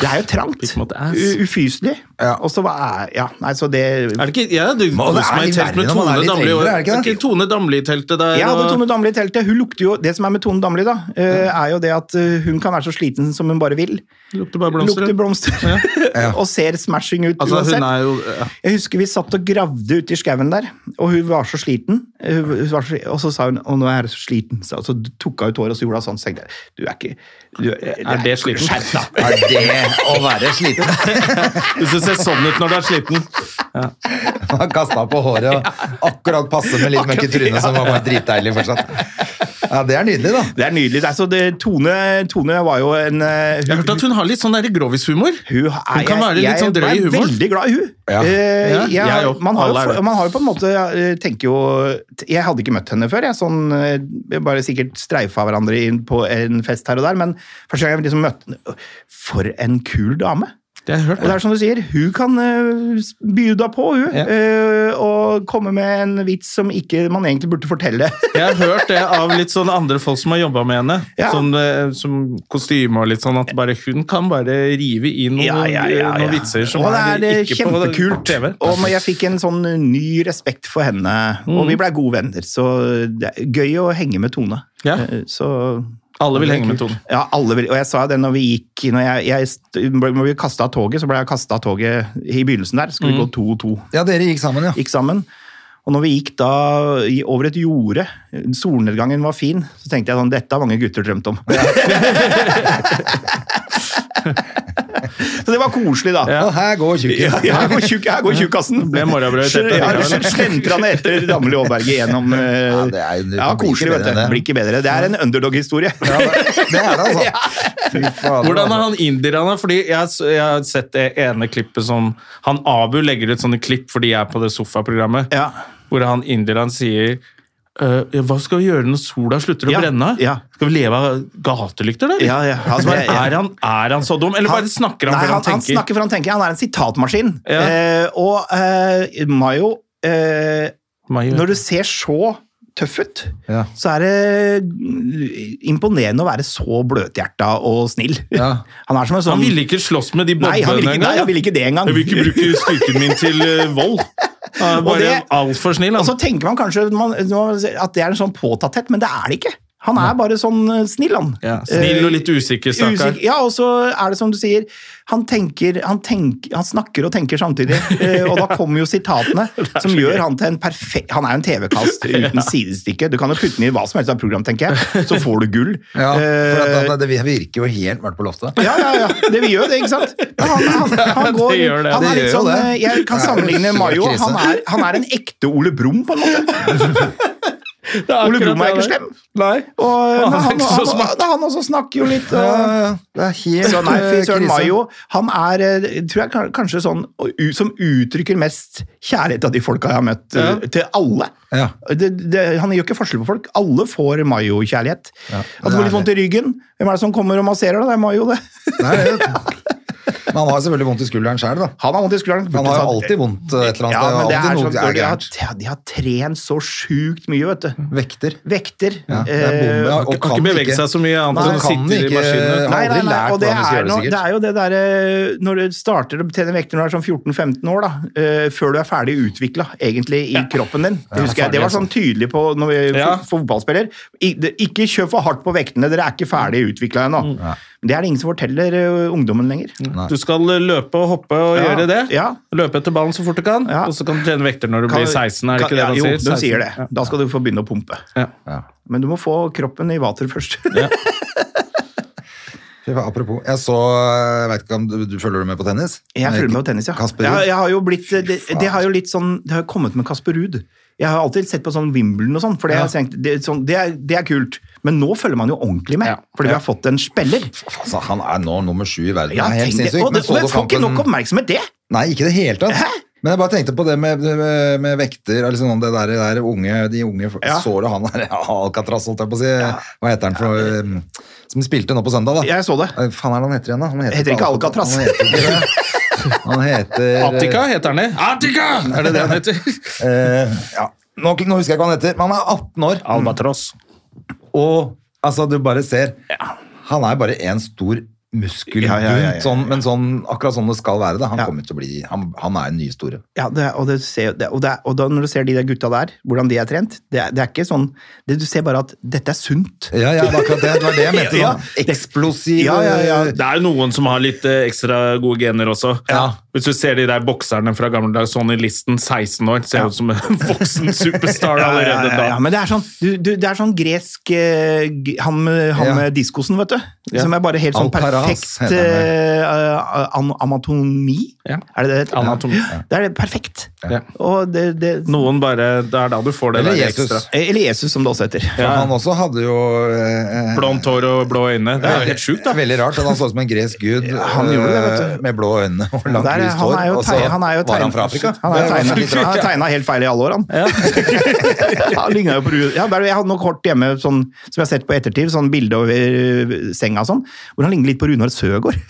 C: det er jo trangt.
A: Pikk mot ass.
C: U- Ufyselig.
B: Ja.
C: Og så hva er Ja, nei, så det
A: Er det ikke, ja, du
B: Må- det
A: koser
B: er
A: meg i
B: litt
A: telt med
B: verre når man er
A: Tone
B: litt
A: Damli. i år.
B: eldre, er
A: Er
B: det ikke det?
A: ikke Tone Damli i teltet der?
C: Jeg hadde
A: og-
C: Tone Damli i teltet. Hun lukter jo, Det som er med Tone Damli, da, eh, er jo det at eh, hun kan være så sliten som hun bare vil.
A: Lukter bare blomster.
C: Lukter blomster.
B: Ja.
C: og ser smashing ut
A: Altså, hun
C: uansett.
A: er jo ja.
C: Jeg husker vi satt og gravde ute i skauen der, og hun var så sliten. Hun hun var så, og så sa hun 'Å, nå er jeg så sliten', så, så tok hun ut håret og så gjorde hun sånn. Så tenkte jeg, du er ikke du,
A: Er det sliten?
C: Skjerp deg!
B: Er det å være sliten?
A: Hvis du ser sånn ut når du er sliten.
B: Han kasta på håret og akkurat passe med litt møkk i trynet, som var bare dritdeilig fortsatt. Ja, det er nydelig, da.
C: Det er nydelig. Altså, det, Tone, Tone var jo en eh,
A: Jeg har hørt at hun har litt sånn der grovishumor.
C: Hun, er,
A: Hun kan være litt
C: jeg,
A: sånn drøy i
C: Jeg er
A: humoren.
C: veldig glad i hun.
B: Ja.
C: Eh,
A: Ja,
C: jeg,
A: jeg òg.
C: man, har
A: Alle er
C: jo,
A: det.
C: man har jo på en måte eh, tenker jo, Jeg hadde ikke møtt henne før. Jeg sånn, eh, vi bare sikkert streifa hverandre inn på en fest her og der, men første gang jeg liksom møtte henne For en kul dame!
A: Det har jeg hørt.
C: Og det er som du sier, hun kan uh, bjuda på, hun.
A: Ja.
C: eh, og komme med en vits som ikke man egentlig burde fortelle.
A: Jeg har hørt det av litt sånn andre folk som har jobba med henne.
C: Ja.
A: Sånn, eh, som kostyme og litt sånn, at bare hun kan bare rive i noen, eh,
C: Ja, ja, ja,
A: noen
C: ja.
A: vitser som
C: og det er, eh,
A: ikke
C: kjempekult.
A: på TV.
C: Og men jeg fikk en sånn ny respekt for henne,
A: Mm.
C: og vi blei gode venner. Så det er gøy å henge med Tone.
A: Ja.
C: Eh, Så
A: Alle vil henge med Tone.
C: Ja, alle vil. Og jeg sa det når vi gikk når jeg, jeg, st- ble- når vi kasta av toget, så ble jeg kasta av toget i begynnelsen der.
A: Mm.
C: Skulle vi gå to og to.
B: Ja, dere gikk sammen, ja.
C: Gikk sammen. Og når vi gikk da i, over et jorde, solnedgangen var fin, så tenkte jeg sånn Dette har mange gutter drømt om. så det var koselig, da.
B: Og her går
C: Ja,
B: tjukken.
C: ja, her går tjukk- her går tjukassen.
A: Ble morrabrød i teppet.
C: Ja, Slentra han etter Damli Aaberge gjennom eh,
B: Ja, det er jo- det
C: ja,
B: kan bli ikke
C: koselig,
B: bedre
C: vet
B: enn
C: du.
B: det.
C: Blir ikke bedre. Det er en underdog-historie.
B: Ja, det er det, altså. Fy fader. altså.
A: Hvordan er han indierne? Fordi jeg, s- jeg har sett det ene klippet som Han Abu legger ut sånne klipp fordi jeg er på det sofaprogrammet,
C: Ja.
A: hvor han indierne sier «Øh, ja, hva skal vi gjøre når sola slutter å
C: Ja,
A: brenne?
C: ja.
A: Skal vi leve av gatelykter, da? eller?»
C: Ja, ja.
A: Altså, bare,
C: Ja, ja.
A: er, han, er han så dum, eller bare snakker han
C: Nei,
A: fordi han,
C: han
A: tenker?
C: snakker for han tenker. Han er en sitatmaskin.
A: Ja.
C: Eh, og eh, Mayo eh,
A: Maja.
C: Når du ser så tøff ut,
B: Ja.
C: så er det imponerende å være så bløthjerta og snill.
B: Ja.
C: Han er som en sånn
A: Han ville ikke slåss med de
C: Nei, han ville
A: bobbene
C: ikke, nei, han
A: engang.
C: ville ikke det engang.
A: Jeg vil ikke bruke styrken min til eh, vold. Han er
C: Og
A: bare
C: det- altså,
A: altfor snill.
C: Og så
A: Han.
C: tenker man kanskje at man- at det er en sånn påtatthet, men det er det ikke. Han er bare sånn eh, snill, han.
A: Ja, snill og litt usikker, stakkar.
C: Usikker- Ja, og så er det som du sier, han, tenker, han, tenk, han snakker og tenker samtidig. eh, Og da kommer jo sitatene som gjør han til en perfekt Han er jo en TV-kast uten sidestykke. Du kan jo putte den i hva som helst av program, tenker jeg, så får du gull.
B: Ja, for at
C: Eh,
B: han, det virker jo helt mørkt på loftet.
C: ja, ja, ja. Det vi gjør det, ikke sant? Han, han, han, går,
A: Det gjør det.
C: han
B: Det
C: er litt
B: gjør jo
C: sånn
B: det.
C: eh, Jeg kan
B: Nei,
C: sammenligne
B: det er
C: Mayo.
B: krise.
C: Han er, han er en ekte Ole Brumm, på en måte. Ole Brumm er ikke slem.
A: Nei.
C: Og,
A: Han
C: men
A: er
C: han,
A: ikke så
C: han,
A: smart.
C: han, også snakker jo litt
B: Ja,
C: og,
B: ja, ja. det er helt
C: Så nei, fy
B: eh,
C: søren,
B: krise.
C: Mayo, han er eh, tror jeg kan- kanskje sånn og u- som uttrykker mest kjærlighet av de folka jeg har møtt, eh, til alle.
B: Ja.
C: Det, det, han gjør ikke forskjell på folk. Alle får Mayo-kjærlighet.
B: Ja,
C: At
B: det
C: det
B: er
C: går litt vondt i
B: det.
C: ryggen. Hvem er det som kommer og masserer, da? Det er Mayo, det.
B: Nei, jeg vet. Men han har selvfølgelig vondt i skulderen sjøl, da.
C: Han har vondt i skulderen.
B: Han har jo alltid vondt eh, et eller
C: Ja, men
B: annet.
C: det
B: Ja,
C: er
B: alltid
C: sånn,
B: noe er
C: de, har,
B: gærent.
C: ja, de har trent så sjukt mye, vet du.
B: Vekter.
C: Vekter.
B: Ja, det er bombe,
C: eh,
B: ja, og
A: Kan, ikke bevege seg så mye annet enn
B: Nei,
A: å
B: kan
A: sitte i
B: ikke-
A: maskinen.
B: Nei,
C: Nei, nei,
B: aldri
C: nei,
B: lært
C: og det
B: hvordan du skal
C: er,
B: gjøre det,
C: no,
B: sikkert.
C: det er jo det derre Når du starter å trene vekter når du er sånn 14-15 år, da, eh, før du er ferdig utvikla egentlig i kroppen din. Det, husker jeg, det var sånn tydelig på når vi
A: altså. Ja.
C: for, for fotballspiller. I, det, ikke kjør for hardt på vektene, dere er ikke ferdig utvikla ennå.
A: Mm.
C: Men det er det ingen som forteller eh, ungdommen lenger.
A: Du skal eh, løpe og hoppe og
C: Ja,
A: gjøre det.
C: ja.
A: Løpe etter ballen så fort du kan,
C: Ja.
A: og så kan du trene vekter når du blir 16. Er det ikke det
C: Ja,
A: man
C: jo,
A: sier?
C: de
A: 16.
C: sier det. Da skal du få begynne å pumpe.
A: Ja.
C: Men du må få kroppen i vater først.
B: Fy faen, Apropos, jeg så Jeg vet ikke om du, du følger med på tennis?
C: Jeg følger med på tennis, ja.
B: Kasper
C: jeg,
B: Ruud.
C: jeg har jo blitt, det,
B: faen.
C: det har jo litt sånn, det har jo kommet med Kasper Ruud. Jeg har alltid sett på sånn Wimbledon og sånn, for det, har jeg tenkt, det, er sånn, det, er, det er kult. Men nå følger man jo ordentlig med,
A: Ja.
C: fordi vi har fått en spiller.
B: Altså, han er nå nummer sju i verden.
C: Ja,
B: det er helt
C: tenk det.
B: sinnssykt.
C: Og det,
B: så
C: men
B: du
C: får ikke
B: kampen-
C: nok oppmerksomhet, det!
B: Nei, ikke i det hele tatt. Men jeg bare tenkte på det med, med, med vekter eller sånn, det der, det der unge, De unge
C: Ja.
B: så du han der Alcatraz, holdt jeg på å si. Hva heter han for eh, Som spilte nå på søndag, da.
C: Jeg så det.
B: Hva faen er det han heter igjen, da? Han
C: Heter ikke Alcatraz.
B: Han heter, ikke det. han heter
A: Attica heter han det. Attica! Er det det han heter?
B: eh, ja. nå, nå husker jeg ikke hva han heter, men han er 18 år.
A: Albatross.
B: Og altså, du bare ser Han er bare en stor muskelbunt,
C: Ja, ja, ja, ja.
B: Sånn, men sånn, akkurat sånn det skal være. Da. Han
C: Ja.
B: kommer til å bli Han, han er en ny store.
C: Ja, det, og, det, ser- det, og, det, og da når du ser de der gutta der, hvordan de er trent, det, er- det er ikke sånn det, Du ser bare at dette er sunt.
B: Ja, ja, det var akkurat det. Det var det jeg mente.
C: Ja,
B: Sånn. Eksplosiv eh,
C: Ja, ja, ja.
A: Det er jo noen som har litt eh, ekstra gode gener også.
B: Ja.
A: Hvis du ser de der bokserne fra gamle dager, Sonny Listen, 16 år, ser ut som en voksen superstar
C: Ja, ja,
A: allerede
C: ja, ja,
A: da.
C: men det er sånn, du, du, det er sånn gresk eh, g- Han, med- han
B: Ja.
C: med diskosen, vet du. Som er bare helt sånn
B: Alcaraz, Ras,
C: perfekt
B: heter den
C: eh, eh, an anatomi.
A: Ja.
C: Er det det? heter?
A: Anatomi.
C: Ja. Det er det perfekt.
A: Ja.
C: Og det, det,
A: Noen bare Det er da du får det
B: Eller
A: der
B: Jesus.
A: ekstra.
C: eller Jesus, som det også heter.
B: For Han også hadde jo eh,
A: Blondt hår og blå øyne. Det er jo helt sjukt, da.
B: Veldig rart. at Han så ut som en gresk gud
C: han gjorde det, vet du.
B: eh, med blå øyne og langt
C: Der,
B: lyst
C: han
B: hår.
C: er jo
B: og så
C: teg- han er jo
B: var han
C: tegnet-
B: fra Afrika.
C: Han
B: Det var litt rart.
C: er tegna helt feil i alle år, han. han lignet jo på Ru- ja, bare- jeg hadde noe kort hjemme sånn, som jeg har sett på ettertid, sånn bilde over eh, senga og sånn, hvor han ligner litt på Runar Søgaard.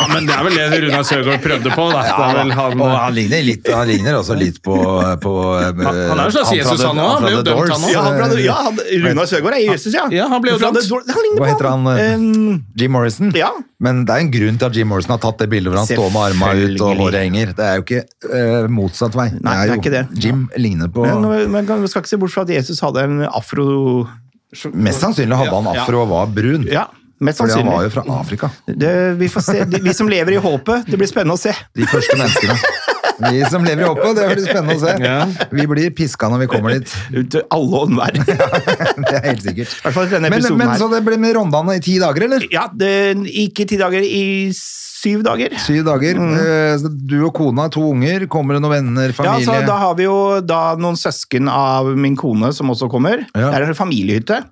A: Ja, men det er vel det Runar Søgaard prøvde på. Da. Det
B: Ja,
A: er vel han,
B: og han ligner, litt, han ligner også litt på, på eh, Han,
A: han er jo sånn slags Jesus, han også. Han ble jo dømt, han også.
C: Ja, han, ble- ja, han, Runar Søgaard er Jesus, ja.
A: Ja, han ble jo
C: Fra
A: dømt.
C: det dår- Han ligner
B: Hva
C: på
B: heter han? eh,
C: Em,
B: Jim Morrison?
C: ja.
B: Men det er en grunn til at Jim Morrison har tatt det bildet hvor han står med armene ut og
C: Selvfølgelig.
B: håret henger. Det er jo ikke eh, motsatt vei.
C: Nei,
B: jo,
C: det er ikke det.
B: Jim ligner på
C: men, men, men vi skal ikke se bort fra at Jesus hadde en afro...
B: Mest sannsynlig hadde han
C: Ja, ja.
B: afro og var brun.
C: Ja, mest
B: Fordi han var
C: sannsynlig.
B: jo fra Afrika.
C: Det, vi, får se. De, vi som lever i håpet, det blir spennende å se.
B: De første menneskene. Vi som lever i håpet, det blir spennende å se. Vi blir piska når vi kommer dit.
C: Ut alle og enhver.
B: Det er helt sikkert.
C: I hvert fall denne
B: Men,
C: episoden
B: men
C: her.
B: så det blir med Rondane i ti dager, eller?
C: Ja, det, ikke ti dager, i syv dager.
B: Syv dager.
C: Mm.
B: Eh, så Du og kona, to unger, kommer det noen venner,
C: Ja, så
B: familie?
C: Da har vi jo da noen søsken av min kone som også kommer.
B: Ja.
C: Det er en familiehytte.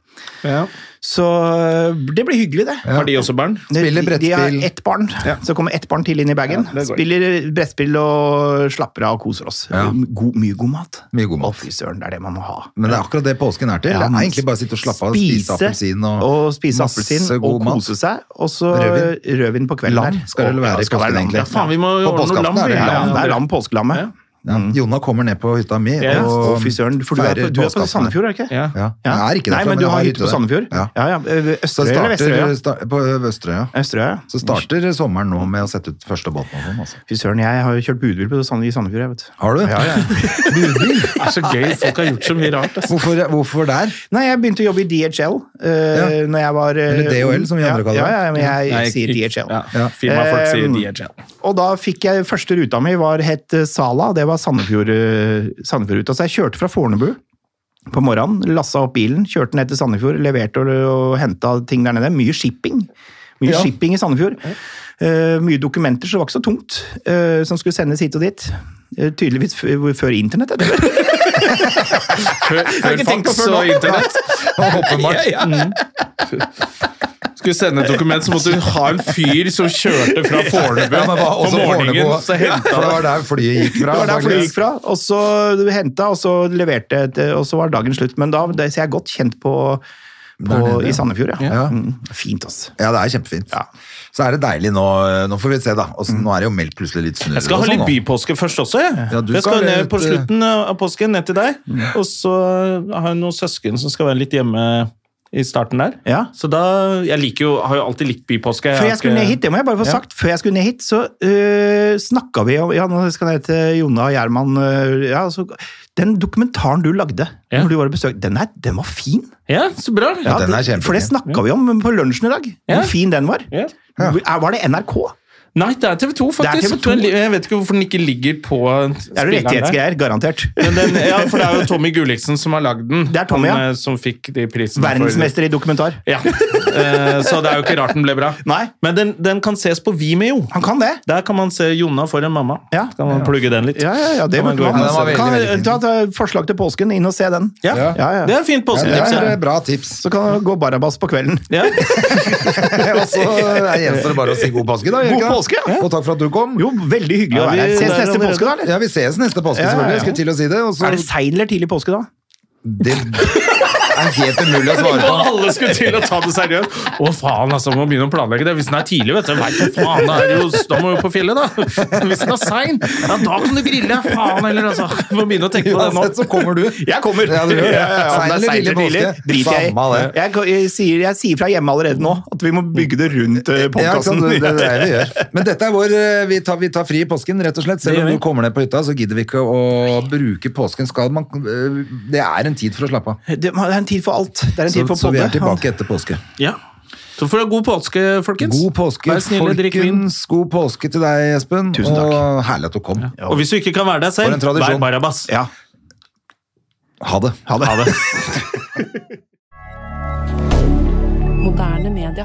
A: Ja.
C: Så eh, det blir hyggelig, det.
A: Har eh, de også barn?
C: De-
B: Spiller
C: De har
B: brettspill.
C: ett barn, så kommer ett barn til inn i bagen. Spiller brettspill og slapper av og koser oss.
B: Ja.
C: God, mye god mat.
B: Mye god mat.
C: Å, fy søren, det er det man må ha.
B: Men det er akkurat det påsken er til.
C: Ja,
B: det
C: men
B: er egentlig bare å sitte og slappe av, spise appelsin og,
C: spise
B: masse
C: appelsin og
B: god mat.
C: kose seg. Og så
B: Rødvin.
C: rødvin, på kvelden
B: Lam
C: her.
B: skal det vel
C: Å,
B: være i
C: skal
B: påsken,
C: lam,
B: egentlig.
C: ja.
A: Faen, vi må
B: På
A: ordne noe
B: påskeaften
A: lam.
B: er det,
A: vi.
C: Ja,
B: ja.
C: det er lam påskelammet.
B: Ja. Jonna kommer ned på hytta mi
A: Ja.
B: og
C: Mm. Å, fy søren, for du er,
B: feirer
C: på, du er på
B: påskeaften.
C: Sandefjord, er du ikke?
A: Ja.
B: Ja.
C: Ja.
B: Jeg er ikke derfra,
C: Nei, men du har hytte på
B: der.
C: Sandefjord?
B: Ja.
C: Ja, ja. Ø-
B: Så
C: Østerøy eller Vesterøy?
B: starter,
C: ja?
B: sta- på Østerøya.
C: Østerøy, ja.
B: Så starter sommeren nå med å sette ut første båten og sånn. Altså.
C: Fy søren, jeg har jo kjørt budbil på Sand- i Sandefjord, jeg, vet du.
B: Har du?
C: Ja, ja.
A: Det er så gøy. Folk har gjort så mye rart. ass.
B: Hvorfor, hvorfor der?
C: Nei, jeg begynte å jobbe i DHL uh,
B: Ja.
C: når jeg var eh,
B: Eller DHL,
C: ung.
B: som vi andre kaller det.
C: Ja, ja, ja, men jeg
A: Nei,
C: sier
A: ikke-
C: DHL.
A: Ja. Firmafolk sier
C: Um,
A: DHL.
C: Og da fikk jeg første ruta mi var het eh, Sala, det var Sandefjord, eh, Sandefjordruta. Så jeg kjørte fra Fornebu på morgenen, lassa opp bilen, kjørte ned til Sandefjord, leverte og, og henta ting der nede. Mye shipping. Mye
B: Ja.
C: shipping i Sandefjord. Eh, mye dokumenter, så det var ikke så tungt, eh, som skulle sendes hit og dit. Eh, tydeligvis f før internett, jeg tror jeg.
A: Før, før
C: ikke tenkt på
A: fax
C: før nå.
A: og internett. Mm.
B: Åpenbart.
A: Skulle sende et dokument, så måtte du ha en fyr som kjørte fra Fornebu
B: Ja, men hva-
A: på
B: også
A: morgenen.
B: Fornebu.
A: Så
B: For det
A: henta
B: var der flyet gikk fra.
C: Det var der flyet
B: antageligvis.
C: gikk fra, og så henta, og så leverte, et, og så var dagen slutt. Men da det, så jeg er godt kjent på, på i Sandefjord, ja.
B: Ja.
C: Mm, fint, altså.
B: Ja, det er kjempefint. Så er det deilig nå. eh, Nå får vi se, da. Og så-
C: Mm.
B: nå er det jo meldt plutselig litt sånn snurr.
A: Jeg skal
C: sånn,
A: ha litt bypåske først også. Jeg,
B: Ja, du
A: jeg skal
B: skal
A: ned
B: ut,
A: på
B: eh,
A: slutten av påsken, ned til deg.
C: Mm.
A: Og så har jeg noen søsken som skal være litt hjemme i starten der.
C: Ja.
A: Så da, Jeg liker jo, har jo alltid likt bypåske.
C: Før
A: har
C: jeg skulle
A: ikke-
C: ned hit, det må jeg bare få
A: Ja.
C: sagt, før jeg skulle ned hit, så øh, snakka vi om Ja, nå skal jeg ned til Jonna og Gjerman. øh, ja, så, den dokumentaren du lagde
A: Ja.
C: når du var i besøk, den, er, den var fin.
A: Ja, så bra.
B: Ja, den er
C: det-
B: kjempefin.
C: For det snakka vi om på lunsjen i dag.
A: Ja.
C: Hvor fin den var.
A: Ja.
C: Er- Var det NRK?
A: Nei, det er TV 2,
C: Det er
A: faktisk.
C: TV 2.
A: Jeg vet ikke hvorfor den ikke ligger på
C: Det er jo rettighetsgreier, garantert.
A: Men den, ja, for det er jo Tommy Gulliksen som har lagd den.
C: Det er Tommy,
A: han,
C: ja.
A: eh, Som fikk de prisene. for-
C: Verdensmester i dokumentar.
A: Ja. Eh, Så det er jo ikke rart den ble bra.
C: Nei.
A: Men den, den kan ses på Vimeo.
C: Han kan det.
A: Der kan man se Jonna foran mamma.
C: Ja.
A: Kan man plugge den litt.
C: Ja, ja, ja, det
A: Kan man
C: burde
A: gå inn og
C: man.
A: se
B: Ja, den var
C: Kan-
B: veldig, veldig fin.
C: ta, ta forslag til påsken, inn og se den.
A: Ja.
C: Ja, ja.
A: Det er et fint
B: Ja,
A: påsketips.
B: det
A: Ja,
B: er bra tips.
C: Så kan det gå Barabas på kvelden.
A: ja.
B: Og så eh, gjenstår det bare å si god påske, da. gjør det
C: God
B: ikke det?
C: påske, ja.
B: Og takk for at du kom.
C: Jo, veldig hyggelig
A: Ja,
C: å
A: vi-
C: være her. Ses
A: det er
C: neste
A: om-
C: påske, da? eller?
B: Ja, vi ses neste påske,
C: Ja, ja,
B: selvfølgelig.
C: ja.
B: Jeg skulle til å si det. Og så
C: Er det sein eller tidlig påske, da?
B: Det er helt umulig å svare på.
A: Og alle skulle til å ta det seriøst. Å faen, altså, må begynne å planlegge det. Hvis den er tidlig, vet du. Vet du faen, da, er det jo, da må vi på fjellet, da. Hvis den er sein, ja, da kan du grille. Faen heller, altså. Må begynne å tenke på det nå.
B: Uansett så kommer du.
C: Jeg kommer!
B: Ja, du gjør det.
C: Ja, ja, ja. Om
B: Sein
C: det er
B: eller
C: sein
B: tidlig
C: eller
B: påske,
C: Driter jeg i.
B: samme det.
C: Jeg, kan- jeg, sier, jeg sier fra hjemme allerede nå at vi må bygge det rundt eh,
B: Ja, ikke sant?
C: podkasten.
B: det, det, det er det vi gjør. Men dette er vår eh, vi tar, vi tar fri i påsken, rett og slett.
A: Det
B: Selv
A: gjør
B: om
A: vi.
B: du kommer ned på hytta, så gidder vi ikke å bruke påsken. Skal man, eh, det er en tid for å slappe av.
C: Det er en tid for alt. Det er en
B: Så,
C: tid for
B: så vi er
C: podde.
B: tilbake etter påske.
A: Ja. Så får du ha god påske, folkens.
B: God påske,
A: Vær snille, drikk vin.
B: folkens. God påske til deg, Espen.
C: Tusen takk.
B: Og herlig at du kom.
A: Og hvis du ikke kan være deg
B: For
A: selv,
B: en tradisjon.
A: vær Barabas.
C: Ja,
B: Ha det.
C: ha det.
D: Moderne media.